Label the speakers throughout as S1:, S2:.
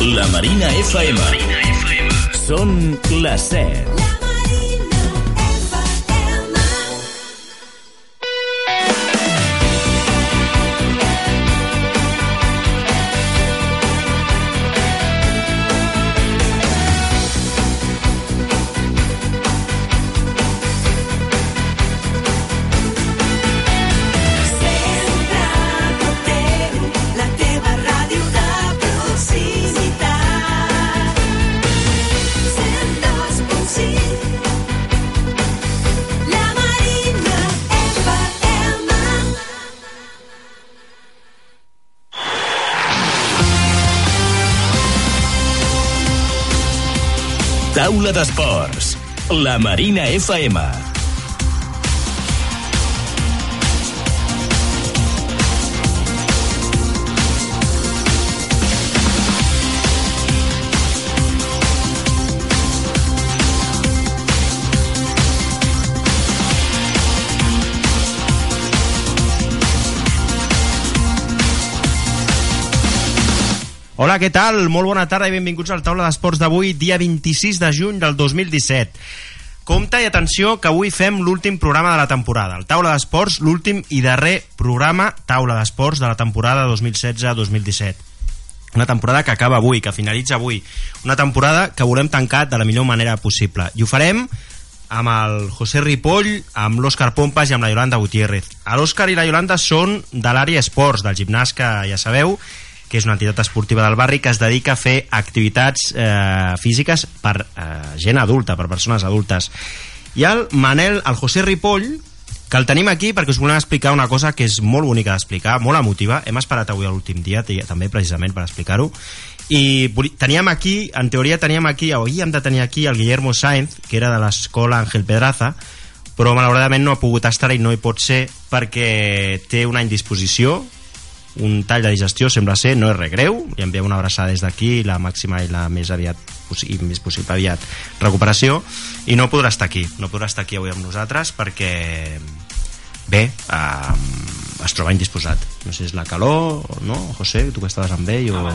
S1: Marina FM. Marina FM. Són les 7. Taula d'esports. La Marina FM.
S2: Hola, què tal? Molt bona tarda i benvinguts al Taula d'Esports d'avui, dia 26 de juny del 2017. Compte i atenció que avui fem l'últim programa de la temporada. El Taula d'Esports, l'últim i darrer programa Taula d'Esports de la temporada 2016-2017. Una temporada que acaba avui, que finalitza avui. Una temporada que volem tancar de la millor manera possible. I ho farem amb el José Ripoll, amb l'Òscar Pompas i amb la Yolanda Gutiérrez. L'Òscar i la Yolanda són de l'àrea esports, del gimnàs que ja sabeu, que és una entitat esportiva del barri que es dedica a fer activitats eh, físiques per eh, gent adulta, per persones adultes. I el Manel, el José Ripoll, que el tenim aquí perquè us volem explicar una cosa que és molt bonica d'explicar, molt emotiva. Hem esperat avui l'últim dia, t- també, precisament, per explicar-ho. I voli- teníem aquí, en teoria teníem aquí, avui hem de tenir aquí el Guillermo Sáenz, que era de l'escola Ángel Pedraza, però malauradament no ha pogut estar i no hi pot ser perquè té una indisposició, un tall de digestió, sembla ser, no és res greu, i enviem una abraçada des d'aquí, la màxima i la més aviat possi- i més possible aviat recuperació, i no podrà estar aquí, no podrà estar aquí avui amb nosaltres perquè, bé, eh, es troba indisposat. No sé si és la calor, o no, José, tu que estaves amb ell, o...
S3: Ah,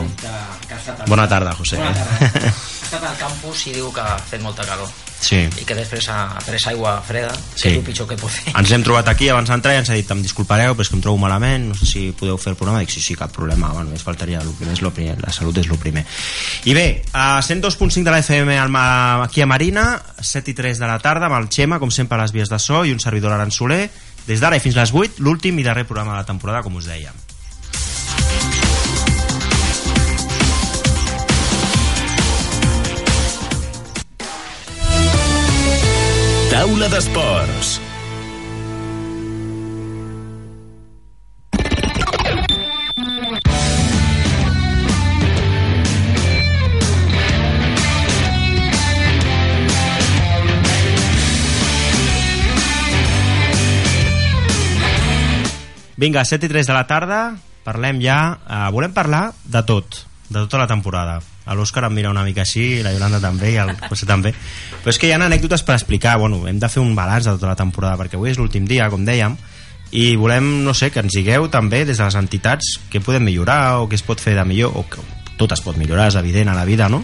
S2: Bona tarda, José. eh?
S3: Bona tarda. Ha estat al campus i diu que ha fet molta calor
S2: Sí.
S3: i que després ha pres aigua freda,
S2: Sí.
S3: sí. que és el pitjor que pot fer.
S2: Ens hem trobat aquí abans d'entrar i ens ha dit em disculpareu, però és que em trobo malament, no sé si podeu fer el programa. Dic, sí, sí, cap problema, bueno, només faltaria, el primer és lo primer, la salut és el primer. I bé, a 102.5 de la FM al Ma- aquí a Marina, 7 i 3 de la tarda, amb el Xema, com sempre, a les vies de so, i un servidor Aran Soler, des d'ara i fins les 8, l'últim i darrer programa de la temporada, com us dèiem.
S1: Taula d'esports.
S2: Vinga, 7 i 3 de la tarda, parlem ja... Eh, volem parlar de tot, de tota la temporada. A l'Òscar em mira una mica així, la Yolanda també, i el José també. Però és que hi ha anècdotes per explicar, bueno, hem de fer un balanç de tota la temporada, perquè avui és l'últim dia, com dèiem, i volem, no sé, que ens digueu també des de les entitats què podem millorar o què es pot fer de millor, o que tot es pot millorar, és evident, a la vida, no?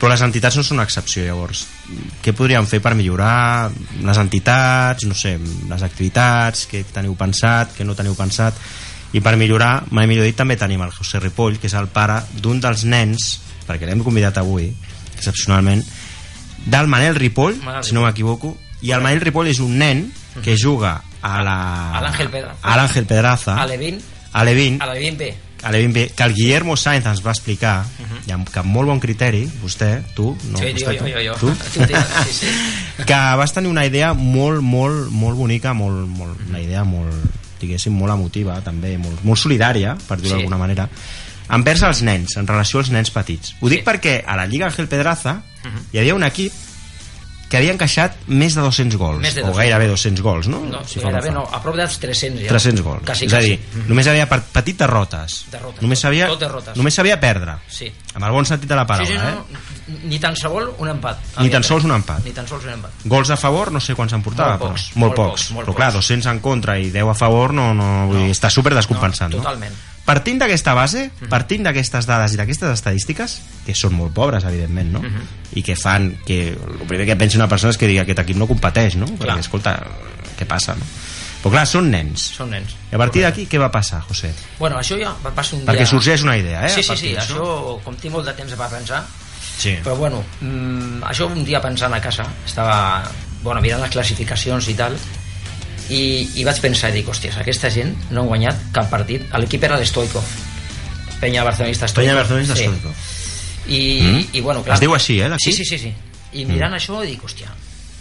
S2: Però les entitats no són una excepció, llavors. Què podríem fer per millorar les entitats, no sé, les activitats, què teniu pensat, què no teniu pensat? I per millorar, mai millor dit, també tenim el José Ripoll, que és el pare d'un dels nens, perquè l'hem convidat avui, excepcionalment, del Manel Ripoll,
S3: Manel
S2: si no m'equivoco, i el Manel Ripoll és un nen que juga a la...
S3: A l'Àngel Pedraza.
S2: A l'Àngel Pedraza.
S3: A l'Evin,
S2: A l'Evin.
S3: a l'Evin B.
S2: A l'Evin B, que el Guillermo Sáenz ens va explicar, i amb, que amb molt bon criteri, vostè, tu, no,
S3: Mhm. Sí,
S2: vostè,
S3: jo, jo, jo, jo.
S2: tu,
S3: Tu, tio, sí, sí.
S2: que vas tenir una idea molt, molt, molt bonica, molt, molt, una
S3: Mhm.
S2: idea molt, diguéssim, molt emotiva, també, molt, molt solidària, per dir-ho
S3: Sí.
S2: d'alguna manera, envers els nens, en relació als nens petits. Ho dic
S3: Sí.
S2: perquè a la Lliga Ángel Pedraza hi havia un equip que havia encaixat més de 200 gols,
S3: Més de
S2: o
S3: 200.
S2: gairebé 200 gols, no?
S3: No,
S2: Si
S3: sí,
S2: fa un
S3: gairebé
S2: fa.
S3: no, a prop dels 300 ja.
S2: 300 gols.
S3: Quasi,
S2: és a
S3: quasi.
S2: dir, només havia per- patit derrotes.
S3: Derrotes,
S2: només
S3: tot-
S2: sabia,
S3: tot derrotes.
S2: Només sabia perdre.
S3: Sí.
S2: Amb el bon sentit de la paraula,
S3: sí, sí, no,
S2: eh?
S3: no, ni tan sols un empat.
S2: Ni
S3: Havia
S2: tan sols un
S3: pres.
S2: empat.
S3: Ni tan sols un empat.
S2: Gols a favor, no sé quants en portava,
S3: Molt pocs,
S2: però molt,
S3: molt
S2: pocs.
S3: pocs, molt
S2: però clar,
S3: pocs.
S2: 200 en contra i 10 a favor, no, no, vull dir, està super descompensat, no?
S3: totalment.
S2: Partint d'aquesta base,
S3: Mhm.
S2: partint d'aquestes dades i d'aquestes estadístiques, que són molt pobres, evidentment, no?
S3: Mhm.
S2: I que fan que... El primer que pensi una persona és que digui aquest equip no competeix, no? Perquè, escolta, què passa, no? Però clar, són nens.
S3: Són nens.
S2: I a partir d'aquí, què va passar, José?
S3: Bueno, això ja va passar un
S2: Perquè
S3: dia...
S2: sorgeix una idea, eh?
S3: Sí,
S2: a
S3: sí,
S2: partir
S3: sí,
S2: d'això.
S3: això, com tinc molt de temps per pensar,
S2: Sí.
S3: però bueno, mm, això un dia pensant a casa, estava bueno, mirant les classificacions i tal, i, i vaig pensar, dic, hòsties, aquesta gent no han guanyat cap partit, l'equip era l'Stoikov, Penya Barcelonista Stoikov.
S2: Penya Barcelonista
S3: sí.
S2: Estoico.
S3: I,
S2: Mm.
S3: i bueno, clar,
S2: Es diu així, eh, Mm. l'equip?
S3: Sí, sí, sí, sí. I mirant això dic, hòstia,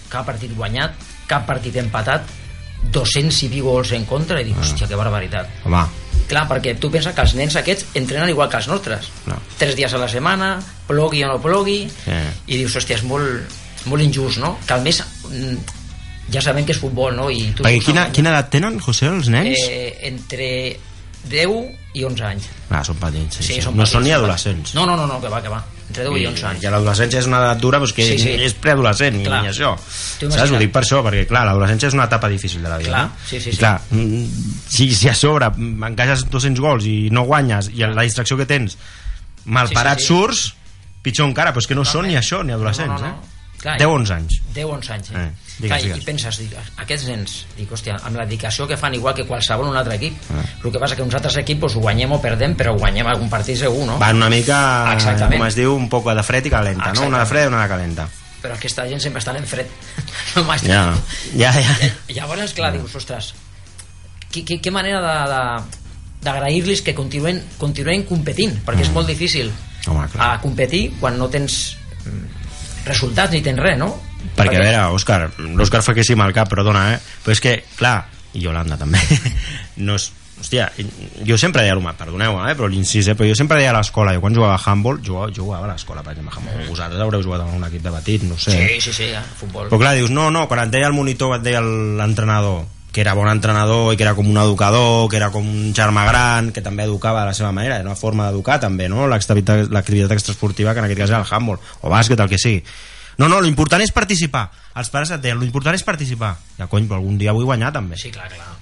S3: cap partit guanyat, cap partit empatat, 200 i pico gols en contra, i
S2: Ah.
S3: dic, hòstia, que barbaritat.
S2: Home,
S3: Clar, perquè tu penses que els nens aquests entrenen igual que els nostres.
S2: Clar.
S3: Tres dies a la setmana, plogui o no plogui,
S2: Sí.
S3: i dius, hòstia, és molt, molt injust, no? Que al més, mm, ja sabem que és futbol, no? I tu
S2: perquè
S3: dius,
S2: quina,
S3: no,
S2: quina edat tenen, José, els nens?
S3: Eh, entre 10 i 11 anys.
S2: Ah, són petits, sí, sí,
S3: són
S2: no
S3: petits,
S2: són ni
S3: petits.
S2: adolescents.
S3: No, no, no, no, que va, que va. Entre 10 i 11 anys.
S2: Ja l'adolescència és una edat dura, però és que
S3: Sí,
S2: sí,
S3: sí.
S2: sí. és preadolescent, ni,
S3: Clar.
S2: ni això.
S3: Tu
S2: Saps?
S3: imagina't.
S2: Ho dic per això, perquè clar, l'adolescència és una etapa difícil de la vida.
S3: Clar,
S2: no?
S3: sí, sí,
S2: I
S3: sí.
S2: clar, mm, si, si a sobre mm, encaixes 200 gols i no guanyes, i la distracció que tens, malparat
S3: Sí,
S2: sí,
S3: sí, eh.
S2: sí, sí. surts, pitjor encara, però és que no són ni això, ni adolescents,
S3: No, no, no.
S2: eh?
S3: Clar,
S2: 10-11 anys.
S3: 10-11 anys. Eh?
S2: Eh, digues,
S3: Clar, i-
S2: digues.
S3: I penses, dic, aquests nens, dic, hòstia, amb la dedicació que fan igual que qualsevol un altre equip,
S2: Ah.
S3: eh. el que passa que uns altres equips doncs, ho guanyem o perdem, però guanyem algun partit segur, no?
S2: Oh. Van una mica,
S3: Exactament.
S2: com es diu, un poc de fred i calenta, no? Una
S3: Exactament.
S2: de fred i una de calenta.
S3: Però aquesta gent sempre estan en fred. No m'has-
S2: Ja, ja, ja.
S3: Llavors, clar, dius, ostres, qui, qui, què manera de... de d'agrair-los que continuen, continuen competint perquè és molt difícil
S2: Mm. Home, clar.
S3: a competir quan no tens mm, resultats ni tens res, no?
S2: Perquè, a veure, Òscar, l'Òscar fa que sí amb el cap, però dona, eh? Però és que, clar, i Yolanda també, no és... Hòstia, jo sempre deia a l'home, perdoneu, eh, però l'incís, eh, però jo sempre deia a l'escola, jo quan jugava a handball, jugava, jugava a l'escola, per exemple, a handball. Vosaltres haureu jugat amb un equip de petit, no ho sé. eh?
S3: sí, sí, sí, a futbol
S2: Però clar, dius, no, no, quan et deia el monitor, et deia l'entrenador, que era bon entrenador i que era com un educador, que era com un germà gran, que també educava de la seva manera, era una forma d'educar també, no? L'activitat l'activitat extraesportiva, que en aquest cas era el handball, o bàsquet, el que sigui. No, no, l'important és participar. Els pares et deien, l'important és participar. Ja, cony, però algun dia vull guanyar també,
S3: sí, clar, clar, clar.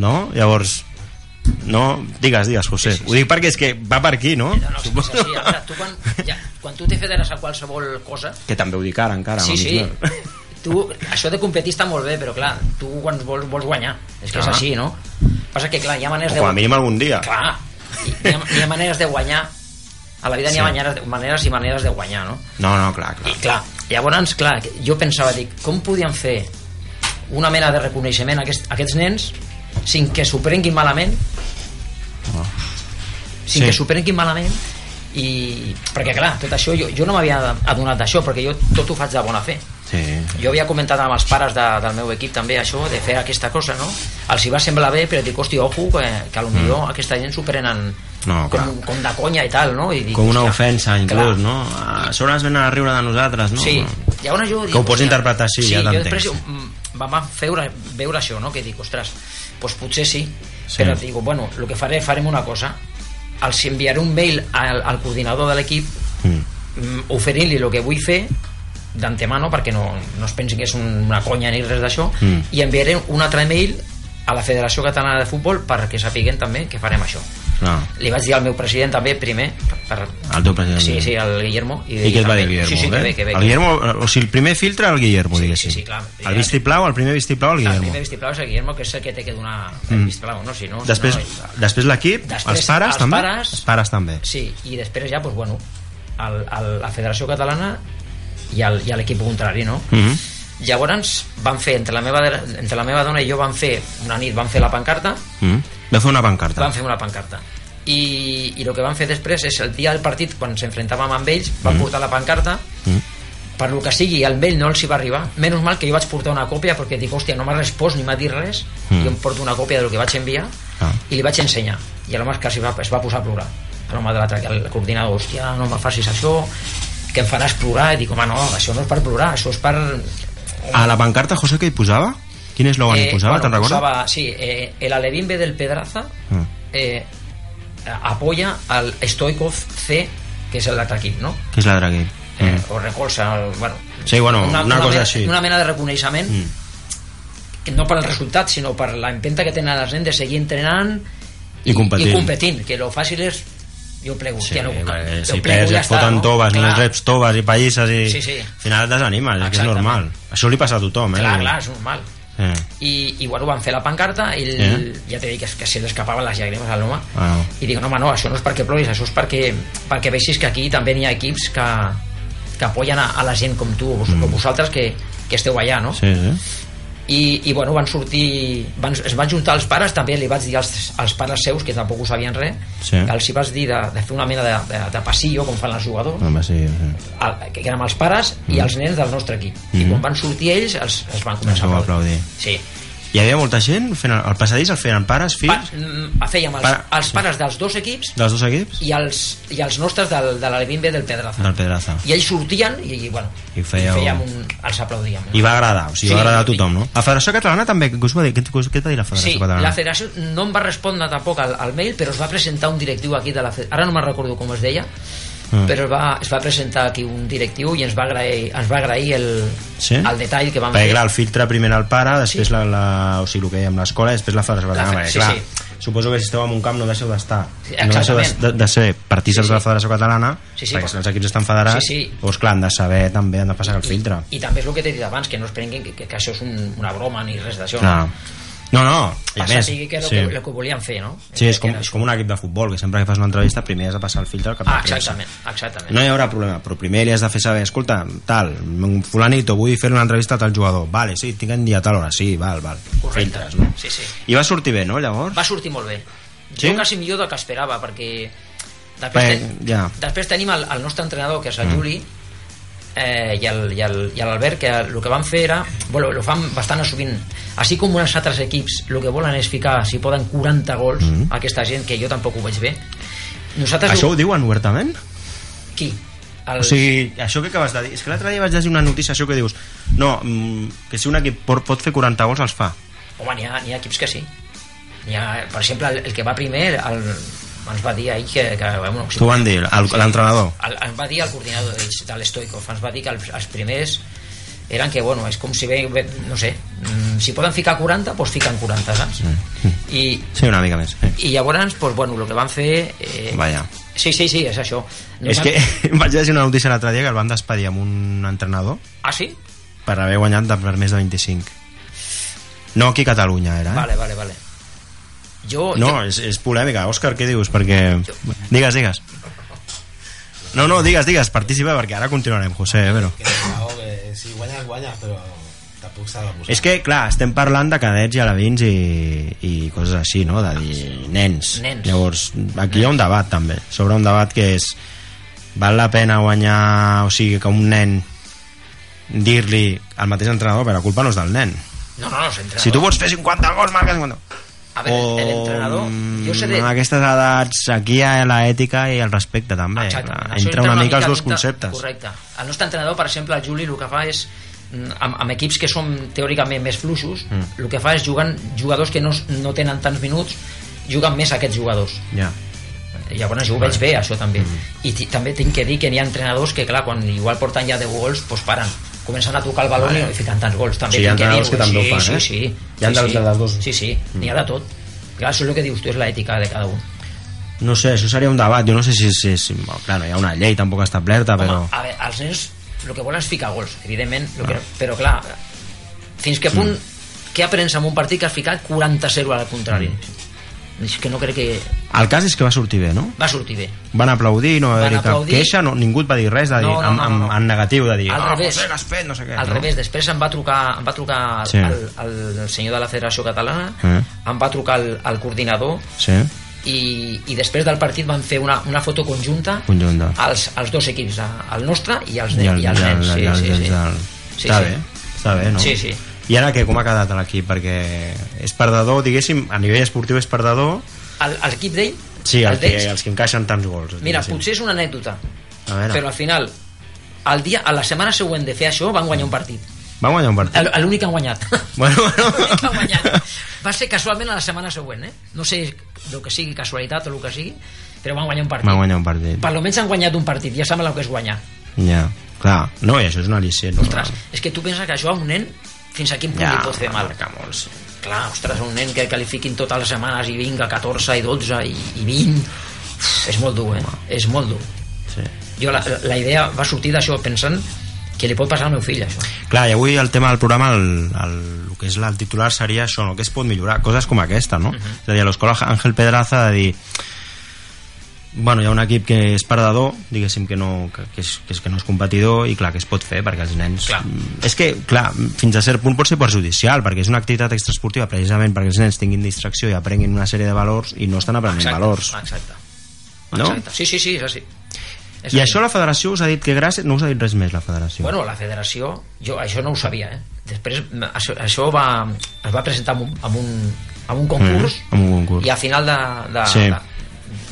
S2: no? Llavors, no, digues, digues, José. Ho dic perquè és que va per aquí, no?
S3: No, no, sí, sí, sí. A veure, tu quan, ja, quan tu te federes a qualsevol cosa,
S2: Que també ho dic ara, encara.
S3: sí,
S2: amics
S3: sí,
S2: meus.
S3: tu, això de competir està molt bé, però clar, tu quan vols, vols guanyar, és que és
S2: Ah.
S3: així, no? Passa que, clar, hi ha maneres
S2: O
S3: de...
S2: com a mínim algun dia.
S3: Clar, hi, hi, ha, hi ha maneres de guanyar, a la vida sí. n'hi ha
S2: Sí.
S3: maneres, maneres i maneres de guanyar, no?
S2: No, no, clar, clar.
S3: I clar, llavors, clar, que jo pensava, dic, com podien fer una mena de reconeixement a aquests, a aquests nens sin que s'ho prenguin malament sin
S2: Sí.
S3: sí. que s'ho prenguin malament i perquè clar, tot això jo, jo no m'havia adonat d'això perquè jo tot ho faig de bona fe
S2: Sí.
S3: jo havia comentat amb els pares de, del meu equip també això, de fer aquesta cosa no? els hi va semblar bé però dic, hòstia, ojo que, que potser mm. aquesta gent s'ho prenen
S2: No, clar.
S3: com, com de conya i tal no? I dic,
S2: com una
S3: "Hòstia,
S2: ofensa
S3: clar,
S2: inclús, no? A sobre ens venen a riure de nosaltres, no?
S3: Sí, llavors jo dic...
S2: Que ho pots
S3: hòstia,
S2: interpretar així,
S3: sí,
S2: ja
S3: jo
S2: t'entenc.
S3: després mm, vam veure, veure això, no? que dic, ostres, doncs potser sí,
S2: Sí.
S3: però et dic, bueno, el que faré, farem una cosa, els enviaré un mail al, al coordinador de l'equip
S2: Mm.
S3: mm, oferint-li el que vull fer d'antemano perquè no, no es pensi que és un- una conya ni res d'això
S2: Mm.
S3: i enviaré un altre mail a la Federació Catalana de Futbol perquè sapiguen també que farem això
S2: No,
S3: li vaig dir al meu president també primer per,
S2: el teu president.
S3: sí, sí, al Guillermo
S2: Ah, I què et va dir
S3: també-
S2: Guillermo?
S3: sí, sí, que
S2: bé?
S3: bé, que bé,
S2: el
S3: que bé.
S2: Guillermo, o sigui, el primer filtre el Guillermo,
S3: Sí,
S2: diguéssim.
S3: sí, sí, clar.
S2: El vistiplau, el primer vistiplau el
S3: el
S2: Guillermo.
S3: primer vistiplau és el Guillermo que és el que té que donar el vistiplau no? Si no,
S2: Mm. Després,
S3: no,
S2: després l'equip,
S3: Després
S2: els pares
S3: els
S2: també?
S3: pares.
S2: Els pares també.
S3: Sí, i després ja, doncs, bueno, el, el, la Federació Catalana i el- i a l'equip contrari, no?
S2: Mhm.
S3: Llavors van fer, entre la, meva, entre la meva dona i jo van fer, una nit van fer la pancarta,
S2: Mm. Va fer una pancarta.
S3: van fer una pancarta. I, i el que van fer després és el dia del partit, quan s'enfrentàvem amb ells,
S2: Mm.
S3: van portar la pancarta, per lo que sigui, al mail no els hi va arribar. Menys mal que jo vaig portar una còpia perquè dic, hòstia, no m'ha respost ni m'ha dit res,
S2: Mm.
S3: jo em porto una còpia del que vaig enviar
S2: Ah.
S3: i li vaig ensenyar. I l'home es, va, es va posar a plorar. L'home de l'altre, el coordinador, hòstia, no me facis això, que em faràs plorar. I dic, home, no, això no és per plorar, això és per...
S2: A la pancarta, José, què hi posava? Quin és l'ogan hi posava, te'n recordes?
S3: posava, eh, sí, eh, el Alevimbe del Pedraza
S2: Mm.
S3: eh, apoya al Stoikov C, que és l'altre equip, no?
S2: Que és la Dragui.
S3: eh,
S2: Mm.
S3: o recolza el- bueno,
S2: Sí, bueno, una cosa
S3: mena,
S2: així.
S3: una mena de reconeixement
S2: Mm.
S3: que no per el resultat sinó per la empenta que tenen els nens de seguir entrenant
S2: I competint.
S3: I competint, que lo fàcil és jo plego,
S2: Sí,
S3: ja no,
S2: perquè
S3: jo
S2: si
S3: plego,
S2: perds,
S3: ja
S2: et foten
S3: està,
S2: toves, no
S3: Clar,
S2: els reps toves i pallisses i...
S3: Sí, sí.
S2: Al final et desanimes, és que és
S3: Exactament.
S2: normal. Això li passa a tothom, eh?
S3: Clar, clar, és normal.
S2: Eh.
S3: I, i bueno, van fer la pancarta i el, ja t'he dit que, que se li escapaven les llàgrimes a l'home
S2: Ah.
S3: i dic, no, home, no, això no és perquè ploris això és perquè, perquè vegis que aquí també n'hi ha equips que, que apoyen a, a la gent com tu, o vos, com vosaltres que, que esteu allà, no?
S2: Mm. Sí, sí.
S3: I, i bueno, van sortir van, es van juntar els pares, també li vaig dir als, als pares seus, que tampoc ho sabien res
S2: Sí.
S3: que els hi vaig dir de, de fer una mena de, de, de passillo, com fan els jugadors
S2: Home, sí, sí.
S3: el, que érem els pares i els nens del nostre equip i
S2: Mhm.
S3: quan van sortir ells els, els van
S2: Ens
S3: començar
S2: vau
S3: a aplaudir
S2: aplaudir.
S3: sí.
S2: Hi havia molta gent fent el, el passadís, el feien pares, fills,
S3: Pa, mm, fèiem els,
S2: Pa-
S3: els pares dels dos equips
S2: dels dos equips,
S3: i els, i els nostres del, de l'Alevin B del Pedraza
S2: del Pedraza.
S3: i ells sortien i, i bueno
S2: Ah. I fèieu-
S3: fèiem un, els aplaudíem
S2: I va agradar, o sigui,
S3: Sí.
S2: va agradar a tothom, no? La Federació Catalana també, què us va dir? Què, què t'ha dit la Federació
S3: Sí,
S2: Catalana?
S3: la federació no em va respondre tampoc al, al mail, però es va presentar un directiu aquí de la federació, ara no me'n recordo com es deia,
S2: Ah.
S3: però es va, es va presentar aquí un directiu i ens va agrair, ens va agrair el,
S2: Sí?
S3: el detall que vam
S2: Perquè, clar, el filtre primer el pare, després
S3: Sí.
S2: la, la, o sigui, el que dèiem, l'escola, després la Federació
S3: La fe-
S2: Catalana.
S3: sí,
S2: perquè,
S3: sí.
S2: clar, Suposo que si esteu en un camp no deixeu d'estar.
S3: Sí,
S2: no deixeu de,
S3: exactament.
S2: de, de ser partícips
S3: Sí, sí.
S2: de la Federació Catalana,
S3: Sí, sí,
S2: perquè
S3: però-
S2: si els equips estan federats,
S3: Sí, sí.
S2: doncs clar, han de saber també, han de passar el filtre.
S3: I també és el que t'he dit abans, que no es prenguin que, que, que això és un, una broma ni res d'això.
S2: Clar. No, no, i a
S3: Passa
S2: més...
S3: sigui que és el,
S2: sí.
S3: sí. que, el que volien fer, no?
S2: Sí, és com,
S3: Que era
S2: és
S3: això.
S2: com un equip de futbol, que sempre que fas una entrevista primer has de passar el filtre al cap de
S3: Ah,
S2: premsa.
S3: exactament, exactament.
S2: No hi haurà problema, però primer li has de fer saber, escolta, tal, fulanito, vull fer una entrevista a tal jugador. Vale, sí, tinc en dia a tal hora, sí, val, val.
S3: Correcte.
S2: Filtres, no?
S3: Sí, sí.
S2: I va sortir bé, no, llavors?
S3: Va sortir molt bé.
S2: Sí?
S3: Jo quasi millor del que esperava, perquè... Després,
S2: Bé, Mm.
S3: ten-
S2: ja.
S3: després tenim el, el nostre entrenador, que és el Juli, eh, i el- i el- i l'Albert, que el que van fer era... Bueno, ho fan bastant sovint. Així com uns altres equips, el que volen és ficar, si poden, 40 gols mm -hmm. a aquesta gent, que jo tampoc ho veig bé. Nosaltres...
S2: Això ho diuen obertament?
S3: Qui? El...
S2: O sigui, això que acabes de dir... És que l'altre dia vaig llegir una notícia, això que dius... No, mm, que si un equip por- pot fer 40 gols, els fa.
S3: Home, n'hi ha, n'hi ha equips que sí. N'hi Ha, per exemple, el, el que va primer el, ens va dir ahir que... que bueno,
S2: T'ho van dir, el- l'entrenador.
S3: El, ens va dir el coordinador d'ells, de l'Estoikov, ens va dir que els, els primers eren que, bueno, és com si ve, ve- no sé, mm, si poden ficar 40, doncs fiquen 40, saps?
S2: Mm,
S3: I,
S2: Sí, una mica més. Eh.
S3: i llavors, doncs, bueno, el que van fer... Eh,
S2: Vaja.
S3: Sí, sí, sí, és això.
S2: És que vaig llegir una notícia l'altre dia que el van despedir amb un entrenador
S3: Ah, sí?
S2: per haver guanyat de, per més de 25. No aquí a Catalunya, era. Eh?
S3: Vale, vale, vale. Jo, jo,
S2: No, és, és polèmica. Òscar, què dius? Perquè... Digues, digues. No, no, digues, digues, participa, perquè ara continuarem, José, eh, però...
S4: Que, claro, que si guanyes, guanyes, però tampoc s'ha d'abusar.
S2: És que, clar, estem parlant de cadets i alevins i, i coses així, no? De dir nens.
S3: Ah, Nens.
S2: Llavors, aquí hi ha un debat, també. Sobre un debat que és... Val la pena guanyar... O sigui, que un nen dir-li al mateix entrenador, però la culpa no és del nen.
S3: no, no, no, s'entra.
S2: Si tu vols fer 50 gols, marca 50
S3: A veure,
S2: O,
S3: l'entrenador... Jo sé de,
S2: En aquestes edats, aquí hi ha l'ètica i el respecte, també.
S3: Exacte.
S2: Clar,
S3: Això
S2: Entra una mica els dos
S3: dintre-
S2: conceptes.
S3: Correcte. El nostre entrenador, per exemple, el Juli, el que fa és mm, amb, amb equips que són teòricament més fluixos, mm. el que fa és jugant jugadors que no, s- no tenen tants minuts, juguen més aquests jugadors.
S2: Ja.
S3: Llavors jo ho veig bé, això també.
S2: Mm.
S3: I ti- també tinc que dir que n'hi ha entrenadors que, clar, quan igual porten ja 10 gols, doncs paren comencen a tocar el baló i fiquen tants gols també
S2: Sí, hi ha
S3: tinc que
S2: entrenadors
S3: dir-ho,
S2: que també ho fan,
S3: sí,
S2: eh?
S3: sí, sí,
S2: Hi ha
S3: sí,
S2: dels-
S3: sí.
S2: de les dos.
S3: sí, sí, n'hi ha de tot clar, això és el que dius tu, és l'ètica de cada un
S2: No sé, això seria un debat. Jo no sé si... si, si bueno, clar, no hi ha una llei tampoc establerta, però...
S3: Home, a veure, els nens el que volen és ficar gols, evidentment, lo
S2: Ah.
S3: que, però clar, fins que punt mm. què aprens en un partit que has ficat 40-0 al contrari? Mm. És que no crec que
S2: El cas és que va sortir bé, no?
S3: va sortir bé.
S2: Van aplaudir, no va
S3: Van
S2: haver cap
S3: aplaudir.
S2: queixa, no, ningú et va dir res de dir,
S3: No, no,
S2: en,
S3: no, no,
S2: en,
S3: no.
S2: en negatiu, de dir,
S3: Al
S2: "Ah,
S3: revés.
S2: José, que has fet, no sé què.
S3: Al
S2: no?
S3: revés, després em va trucar, em va trucar
S2: Sí.
S3: el, el, el senyor de la Federació Catalana,
S2: Eh.
S3: em va trucar el, el coordinador
S2: Sí,
S3: i, i després del partit van fer una, una foto conjunta,
S2: Conjunta.
S3: Als, als dos equips, a- el nostre i els,
S2: i
S3: de,
S2: el,
S3: i els nens. Sí,
S2: el,
S3: sí,
S2: el,
S3: sí.
S2: el,
S3: Sí,
S2: està
S3: sí.
S2: bé, està bé, no?
S3: Sí, sí.
S2: I ara què, com ha quedat l'equip? Perquè és perdedor, diguéssim, a nivell esportiu és perdedor,
S3: El- L'equip d'ell,
S2: Sí,
S3: el
S2: el que,
S3: d'ells,
S2: els que encaixen tants gols.
S3: Mira,
S2: diguéssim.
S3: potser és una anècdota,
S2: A veure.
S3: però al final, el dia, a la setmana següent de fer això, van guanyar un partit.
S2: Va guanyar un partit.
S3: El- L'únic que han guanyat.
S2: Bueno, bueno.
S3: L'únic que han guanyat. Va ser casualment a la setmana següent, eh? No sé el que sigui casualitat o el que sigui, però van guanyar un partit.
S2: Va guanyar un partit.
S3: Per almenys han guanyat un partit, ja saben el que és guanyar.
S2: Ja, clar. No, i això és una al·licient.
S3: Ostres, és que tu penses que això a un nen fins a quin punt
S2: Ja,
S3: li pot fer mal.
S2: marca molt, sí.
S3: clar, ostres, un nen que qualifiquin totes les setmanes i vinga, 14 i 12 i, i 20 Uf, és molt dur, eh? És molt dur.
S2: Sí.
S3: Jo la, la idea va sortir d'això pensant que li pot passar al meu fill, això.
S2: Clar, i avui el tema del programa, el, el, el que és la- el titular seria això, no? que es pot millorar, coses com aquesta, no? Uh
S3: Mhm.
S2: -huh. És a dir, a l'escola Ángel Pedraza de dir bueno, hi ha un equip que és perdedor, diguéssim que no, que, que, és, que, és, que no és competidor i clar, que es pot fer perquè els nens...
S3: Clar.
S2: Mm, És que, clar, fins a cert punt pot ser perjudicial perquè és una activitat extraesportiva precisament perquè els nens tinguin distracció i aprenguin una sèrie de valors i no estan aprenent valors.
S3: Exacte. Ah,
S2: No?
S3: Exacte. Sí, sí, sí, és així. És
S2: I
S3: així.
S2: això la federació us ha dit que gràcies... No us ha dit res més la federació.
S3: Bueno, la federació, jo això no ho sabia, eh? Després, m- això, això va, es va presentar amb un, amb un, amb un concurs,
S2: Mm, amb un concurs.
S3: i al final de... de,
S2: Sí.
S3: de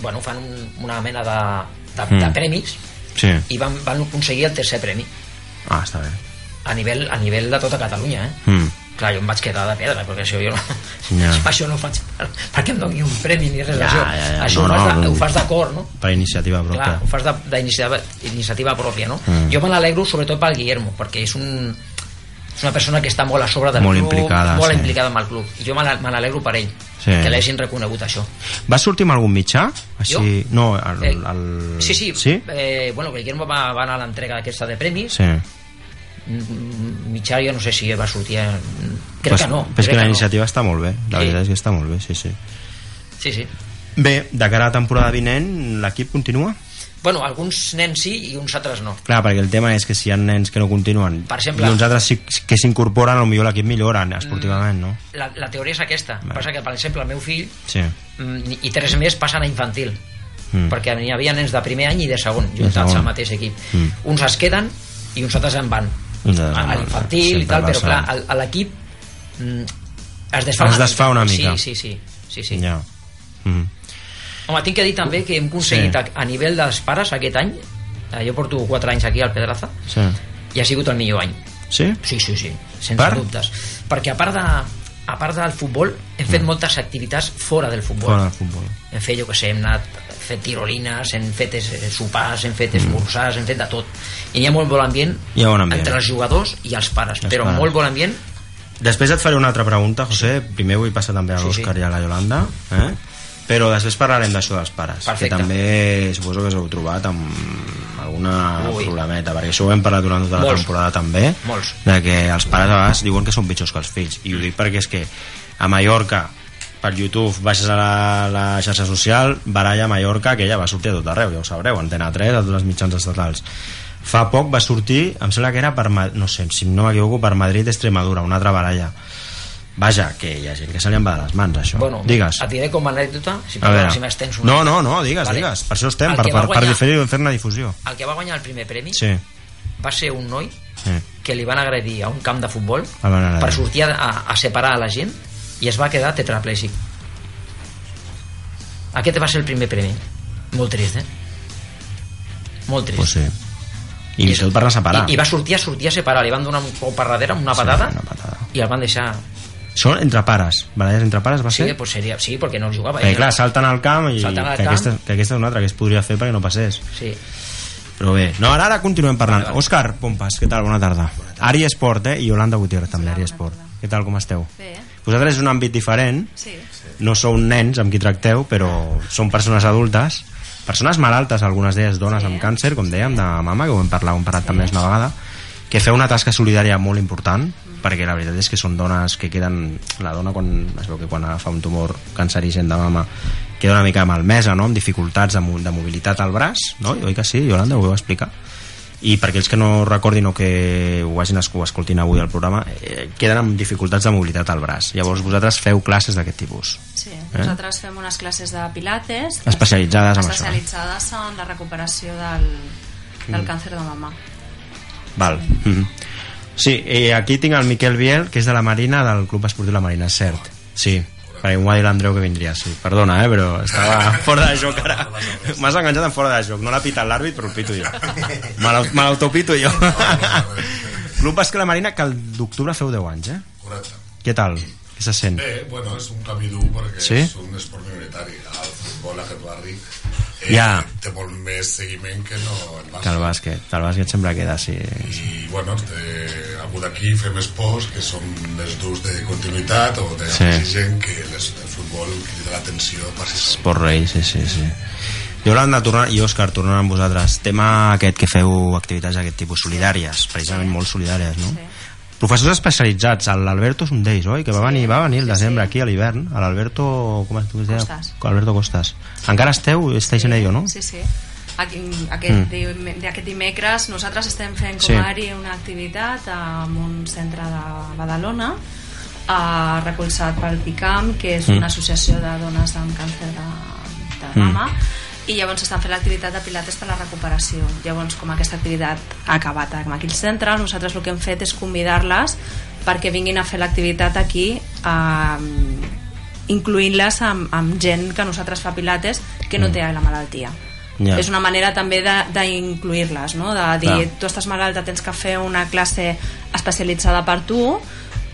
S3: bueno, fan un, una mena de, de,
S2: Mm.
S3: mm. de premis
S2: Sí.
S3: i van, van aconseguir el tercer premi
S2: Ah, està bé.
S3: a nivell, a nivell de tota Catalunya, eh?
S2: Mm.
S3: Clar, jo em vaig quedar de pedra, perquè això jo no...
S2: Ja.
S3: Això no ho faig per, perquè em doni un premi ni res
S2: Ja,
S3: d'això.
S2: ja, ja.
S3: Això
S2: No,
S3: ho, fas
S2: no,
S3: de,
S2: no.
S3: ho fas d'acord, no?
S2: Per iniciativa pròpia.
S3: Clar, ho fas de- d'iniciativa iniciativa pròpia, no?
S2: Mm.
S3: Mm. Jo me n'alegro sobretot pel Guillermo, perquè és un és una persona que està molt a sobre del
S2: Molt
S3: club,
S2: implicada,
S3: molt
S2: sí.
S3: implicada amb el club. I jo me n'al- me n'alegro per ell,
S2: Sí.
S3: que l'hagin reconegut això.
S2: Va sortir amb algun mitjà? Així...
S3: Jo?
S2: No, el,
S3: Eh,
S2: el, el...
S3: Sí, sí,
S2: Mm. Sí?
S3: Eh, bueno, Guillermo va, va anar a l'entrega aquesta de premis,
S2: Sí.
S3: Mm, mitjà jo no sé si va sortir... eh, Crec
S2: Pues-
S3: que no.
S2: Pues
S3: crec
S2: que la
S3: no.
S2: iniciativa està molt bé. La
S3: Sí.
S2: veritat és que està molt bé, sí, sí.
S3: Sí, sí.
S2: Bé, de cara a la temporada vinent, l'equip continua?
S3: Bueno, alguns nens sí i uns altres no.
S2: Clar, perquè el tema és que si hi ha nens que no continuen
S3: Per exemple- Mm.
S2: i uns altres sí, que s'incorporen, potser l'equip millora esportivament, no?
S3: La, la teoria és aquesta.
S2: Vale.
S3: Passa que, per exemple, el meu fill
S2: Sí.
S3: mm, i tres més passen a infantil
S2: Mm.
S3: mm. perquè n'hi havia nens de primer any i de segon
S2: segon.
S3: juntats al mateix equip
S2: Mm.
S3: mm. uns es queden i uns altres en van
S2: Uns altres
S3: a
S2: en
S3: a
S2: van,
S3: l'infantil i
S2: sempre
S3: tal, però
S2: passa.
S3: clar, al- a l'equip mm, es desfà,
S2: Es desfà una mica.
S3: sí, sí, sí, sí, sí.
S2: Ja. Mm.
S3: home, tinc que dir també que hem
S2: Sí.
S3: aconseguit sí. a, a nivell dels pares aquest any eh, jo porto 4 anys aquí al Pedraza
S2: Sí.
S3: i ha sigut el millor any
S2: Sí?
S3: Sí, sí, sí, sense
S2: Per?
S3: dubtes. Perquè a part, de, a part del futbol, hem fet moltes activitats fora del futbol.
S2: Mm. Fora del futbol.
S3: Hem fet, jo que sé, hem anat fet tirolines, hem fet eh, sopars, hem fet esmorzars, hem fet de tot. I hi ha molt bon ambient,
S2: Mm. Hi ha bon ambient. eh?
S3: entre els jugadors i els pares,
S2: Els
S3: però
S2: pares.
S3: molt bon ambient.
S2: Després et faré una altra pregunta, José. Primer vull passar també a
S3: Sí,
S2: l'Òscar
S3: sí.
S2: i a la Yolanda. Eh? Però després parlarem d'això dels pares. Que
S3: Perfecte.
S2: també suposo que us heu trobat amb alguna
S3: Ui.
S2: problemeta, perquè això ho hem parlat durant tota la
S3: Molts. Mm.
S2: temporada també,
S3: Molts.
S2: de que els pares a vegades diuen que són pitjors que els fills. I ho dic perquè és que a Mallorca, per YouTube, baixes a la, la xarxa social, baralla a Mallorca, que ja va sortir a tot arreu, ja ho sabreu, Antena 3, a tots els mitjans estatals. Fa poc va sortir, em sembla que era per, Ma- no sé, si no m'equivoco, per Madrid-Extremadura, una altra baralla. Vaja, que hi ha gent que se li en va de les mans, això.
S3: Bueno,
S2: Digues.
S3: et diré com a anècdota, si,
S2: A veure.
S3: si m'estens una.
S2: No, no, no, digues,
S3: Vale.
S2: digues. Per això estem,
S3: El
S2: per,
S3: que
S2: per,
S3: va
S2: per
S3: guanyar-
S2: diferir fer-ne difusió.
S3: El que va guanyar el primer premi
S2: Sí,
S3: va ser un noi
S2: sí.
S3: que li van agredir a un camp de futbol
S2: El van agredir.
S3: per sortir a, a, a separar a la gent i es va quedar tetraplègic aquest va ser el primer premi molt trist eh? molt trist
S2: Pues sí. I, I tot per anar a separar.
S3: i, i va sortir a sortir a separar li van donar un cop per darrere amb una
S2: Sí,
S3: patada,
S2: una patada. ¿Ah,
S3: i el van deixar
S2: Són entre pares. Baralles entre pares va
S3: sí,
S2: ser?
S3: pues seria... sí perquè no jugava
S2: Eh, clar, salten al camp i
S3: Salten al
S2: que,
S3: camp.
S2: Aquesta, que aquesta és una altra que es podria fer perquè no passés.
S3: sí.
S2: Però bé, no, ara, ara continuem parlant. Òscar Pompas, què tal? Bona tarda. Ari Esport, eh? I Yolanda Gutiérrez també,
S5: Hola,
S2: Ari
S5: bona
S2: Esport.
S5: tarda.
S2: Què tal, com esteu?
S5: Bé,
S2: Vosaltres és un àmbit diferent,
S5: sí.
S2: no sou nens amb qui tracteu, però són persones adultes, persones malaltes, algunes d'elles dones amb càncer, com dèiem, de mama, que ho hem parlat, ho hem parlat també una vegada, que feu una tasca solidària molt important, perquè la veritat és que són dones que queden... La dona, quan, es veu que quan agafa un tumor cancerigen de mama, queda una mica malmesa, no?, amb dificultats de, mo- de mobilitat al braç, no? I Oi que sí, Yolanda, ho vau explicar? i per aquells que no recordin o que ho hagin esc- ho escoltin avui al programa eh, queden amb dificultats de mobilitat al braç llavors vosaltres feu classes d'aquest tipus
S5: Sí, nosaltres fem unes classes de pilates
S2: Eh? Especialitzades en això.
S5: especialitzades en la recuperació del, del càncer de mama.
S2: Val. Mhm. Sí, i aquí tinc el Miquel Biel, que és de la Marina, del Club Esportiu La Marina, és cert. Sí, perquè m'ho ha dit l'Andreu que vindria, sí. Perdona, eh, però estava fora de joc ara. M'has enganxat en fora de joc. No l'ha pitat l'àrbit, però el pito jo. Me l'au- me l'autopito jo. Club Bàsquet La Marina, que el d'octubre feu 10 anys, eh?
S6: Correcte.
S2: Què tal? Què se
S6: Eh,
S2: sent?
S6: Bé, bueno, és un camí dur perquè
S2: Sí?
S6: és un esport minoritari. El futbol a aquest barri eh,
S2: Ja.
S6: té molt més seguiment que no el Barça.
S2: Que el bàsquet, el bàsquet sembla que era, sí.
S6: I, bueno, eh, algú d'aquí fem esports que són més durs de continuïtat o de
S2: Sí.
S6: sí. gent que les, el futbol crida l'atenció per si sol.
S2: Por rei, sí, sí, sí. Yolanda, tornar, i Òscar, tornant amb vosaltres. Tema aquest que feu activitats d'aquest tipus, solidàries, precisament molt solidàries, no?
S5: Sí.
S2: Professors especialitzats, l'Alberto és un d'ells, oi? Que va venir, va venir el
S5: Sí,
S2: desembre
S5: sí.
S2: aquí a l'hivern, a l'Alberto... Com es diu?
S5: Costas.
S2: Alberto Costas. Encara esteu? Esteu en ello, no?
S5: Sí, sí. Aquí, aquest, mm. d'aquest dimecres nosaltres estem fent com
S2: Sí.
S5: a ARI una activitat en un centre de Badalona eh, recolzat pel PICAM que és
S2: Mm.
S5: una associació de dones amb càncer de, de
S2: Mm.
S5: mama i llavors estan fent l'activitat de pilates per la recuperació llavors com aquesta activitat ha acabat amb aquí el centre nosaltres el que hem fet és convidar-les perquè vinguin a fer l'activitat aquí eh, incluint-les amb, amb gent que nosaltres fa pilates que no té la malaltia
S2: Mm. Ja.
S5: és una manera també de- d'incluir-les no? de dir,
S2: Clar.
S5: tu estàs malalta, tens que fer una classe especialitzada per tu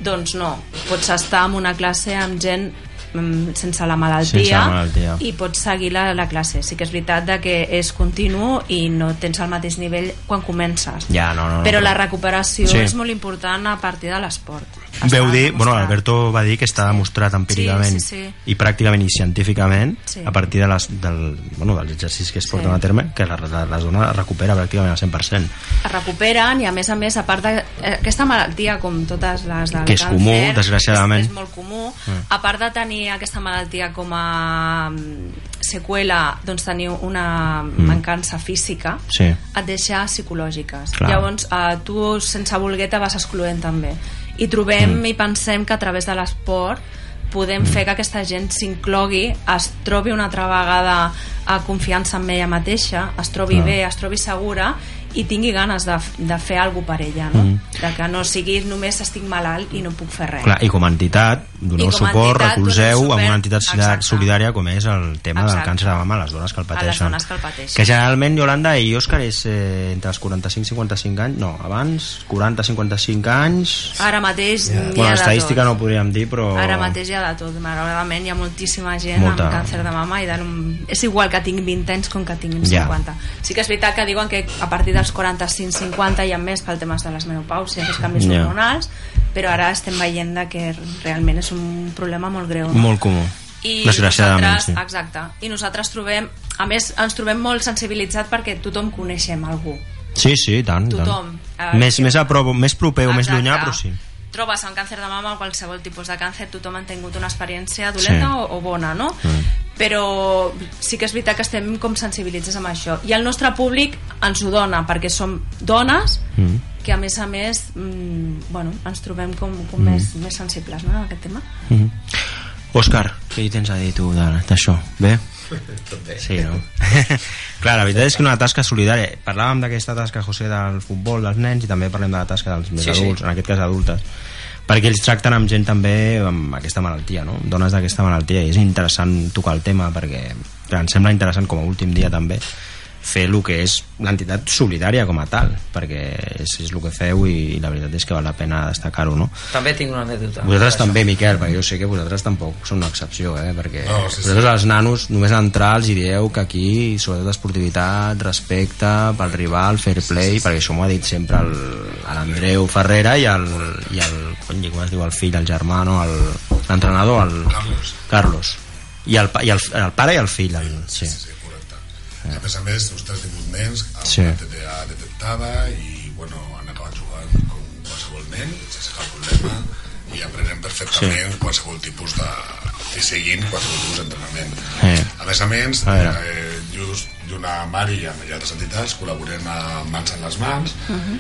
S5: doncs no, pots estar en una classe amb gent mm, sense la malaltia,
S2: Sense la malaltia.
S5: i pots seguir la, la classe sí que és veritat de que és continu i no tens el mateix nivell quan comences
S2: Ja, no, no, no.
S5: però la recuperació
S2: Sí.
S5: és molt important a partir de l'esport
S2: Veu
S5: Està
S2: dir, bueno,
S5: demostrat.
S2: Alberto va dir que està demostrat empíricament
S5: Sí, sí, sí.
S2: i pràcticament i científicament
S5: Sí.
S2: a partir de les, del, bueno, dels exercicis que es
S5: Sí.
S2: porten a terme que la, la, la zona recupera pràcticament al 100%.
S5: es recuperen i a més a més a part d'aquesta malaltia com totes les del
S2: Que és
S5: càncer,
S2: comú, desgraciadament. Ah.
S5: és, és molt comú a part de tenir aquesta malaltia com a mm, seqüela doncs tenir una
S2: Mm.
S5: mancança física
S2: Sí.
S5: et deixa psicològiques
S2: Clar.
S5: llavors eh, tu sense voler te vas excloent també i trobem
S2: Mm.
S5: i pensem que a través de l'esport podem fer que aquesta gent s'inclogui, es trobi una altra vegada a confiança en ella mateixa, es trobi
S2: Clar.
S5: bé, es trobi segura i tingui ganes de, de fer alguna cosa per ella, no?
S2: Mm.
S5: De que no sigui només estic malalt i no puc fer res.
S2: Clar, I com a entitat,
S5: I
S2: doneu
S5: com a
S2: suport,
S5: entitat,
S2: recolzeu amb
S5: doneu
S2: una
S5: suport,
S2: entitat solidar-
S5: exacte.
S2: solidària com és el tema del
S5: Exacte.
S2: càncer de mama a les dones que el
S5: les
S2: pateixen.
S5: dones que el pateixen.
S2: Que generalment, Yolanda i Òscar, és eh, entre els 45 i 55 anys, no, abans, 40-55 anys...
S5: Ara mateix
S4: Ja.
S5: n'hi ha
S2: bueno,
S5: de
S2: estadística
S5: tot.
S2: no ho podríem dir, però...
S5: Ara mateix hi ha de tot, malauradament hi ha moltíssima gent
S2: Molta.
S5: amb càncer de mama i de... és igual que tinc 20 anys com que tinc
S2: Ja.
S5: 50. Sí que és veritat que diuen que a partir dels 45-50 hi ha més pel tema de les menopàusies, els canvis
S2: Ja.
S5: hormonals, però ara estem veient de que realment és un problema molt greu. no?
S2: Molt comú.
S5: I
S2: Desgraciadament, sí.
S5: nosaltres- Exacte. I nosaltres trobem, a més, ens trobem molt sensibilitzat perquè tothom coneixem algú.
S2: Sí, sí, i tant. i tant.
S5: Tothom. Eh,
S2: Més,
S5: sí.
S2: més a prop, més proper o més
S5: Exacte.
S2: llunyà, però sí.
S5: Trobes amb càncer de mama o qualsevol tipus de càncer, tothom han tingut una experiència dolenta
S2: Sí.
S5: o, o bona, no?
S2: Mm.
S5: Però sí que és veritat que estem com sensibilitzats amb això. I el nostre públic ens ho dona, perquè som dones
S2: Mm.
S5: que a més a més mm, bueno, ens trobem com, com més, més sensibles no, en aquest tema.
S2: Mm. Òscar, què hi tens a dir tu de- d'això? Bé?
S4: Tot bé.
S2: Sí, no? Clar, la veritat és que una tasca solidària. Parlàvem d'aquesta tasca, José, del futbol, dels nens, i també parlem de la tasca dels més
S3: Sí,
S2: sí,
S3: sí.
S2: adults, en aquest cas adultes. Perquè ells tracten amb gent també amb aquesta malaltia, no? Dones d'aquesta malaltia. I és interessant tocar el tema perquè clar, em sembla interessant com a últim dia també fer el que és l'entitat solidària com a tal, perquè és, és el que feu i la veritat és que val la pena destacar-ho, no?
S3: També tinc una anècdota.
S2: Vosaltres
S3: Això.
S2: també, Miquel, perquè jo sé que vosaltres tampoc són una excepció, eh? perquè
S6: No, sí, sí.
S2: vosaltres els nanos només a entrar els hi dieu que aquí, sobretot esportivitat, respecte pel rival, fair play, perquè això m'ho ha dit sempre el- a l'Andreu Ferrera i el, i el, cony, com es diu, el fill, el germà, no? El- l'entrenador, el,
S6: Carlos.
S2: Carlos. I el, pa- i el, el pare i el fill, el, sí.
S6: Sí, correcte. A més a més, ostres, 18 nens amb
S2: Sí.
S6: sí. una TDA detectada i, bueno, han acabat jugant com qualsevol nen, sense cap problema, i aprenen perfectament sí. qualsevol tipus de... i seguint qualsevol tipus d'entrenament.
S2: Sí.
S6: A més a més,
S2: A veure.
S6: eh, just jo a Mari i amb altres entitats col·laborem a Mans en les Mans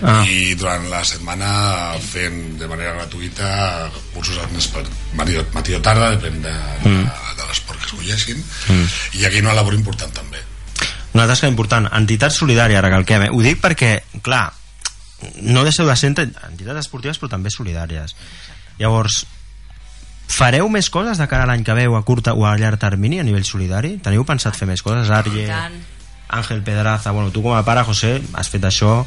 S2: Ah.
S6: i durant la setmana fent de manera gratuïta cursos als nens per matí, o- matí o tarda, depèn de, mm. de, de l'esport que escolleixin. Mm. I aquí una labor important també.
S2: Una tasca important. Entitat solidària, recalquem. Eh? Ho dic perquè, clar, no deixeu de ser ent- entitats esportives, però també solidàries. Llavors, fareu més coses de cara a l'any que veu a curt o a llarg termini a nivell solidari? Teniu pensat fer més coses?
S3: Ah,
S2: Arye,
S5: I tant.
S2: Àngel Pedraza, bueno, tu com a pare, José, has fet això,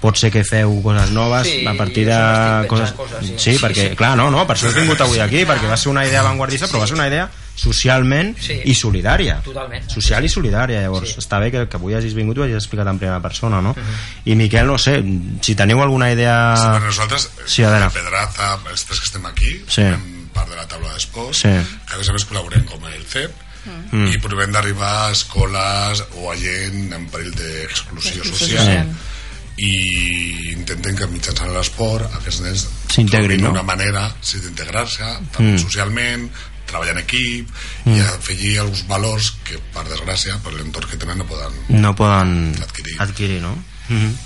S2: pot ser que feu coses noves
S3: Sí,
S2: a partir
S3: jo
S2: de
S3: sempre estic
S2: coses...
S3: pensant coses, sí.
S2: sí,
S3: Sí,
S2: perquè,
S3: sí.
S2: clar, no, no, per això has vingut avui aquí, perquè va ser una idea avantguardista, però va ser una idea socialment
S3: Sí.
S2: i solidària.
S3: Totalment.
S2: Social i solidària, llavors.
S3: Sí.
S2: Està bé que, que avui hagis vingut i ho hagis explicat en primera persona, no? I Miquel, no sé, si teniu alguna
S6: Sí,
S2: idea...
S6: per nosaltres, eh,
S2: Sí, a veure.
S6: Pedraza, els tres que estem aquí,
S2: Sí.
S6: fem part de la taula d'esports,
S2: Sí. Mm.
S6: que a més a més col·laborem com el CEP, i provem d'arribar a escoles o a gent en perill d'exclusió
S5: D'exclusió
S6: social,
S2: social.
S6: i intentem que mitjançant l'esport aquests nens
S2: S'integrin,
S6: trobin
S2: no? Mm.
S6: una manera sí, d'integrar-se també socialment, treballar en equip mm. i afegir alguns valors que per desgràcia, per l'entorn que tenen no poden
S2: No poden
S6: Adquirir.
S2: adquirir no? Mhm.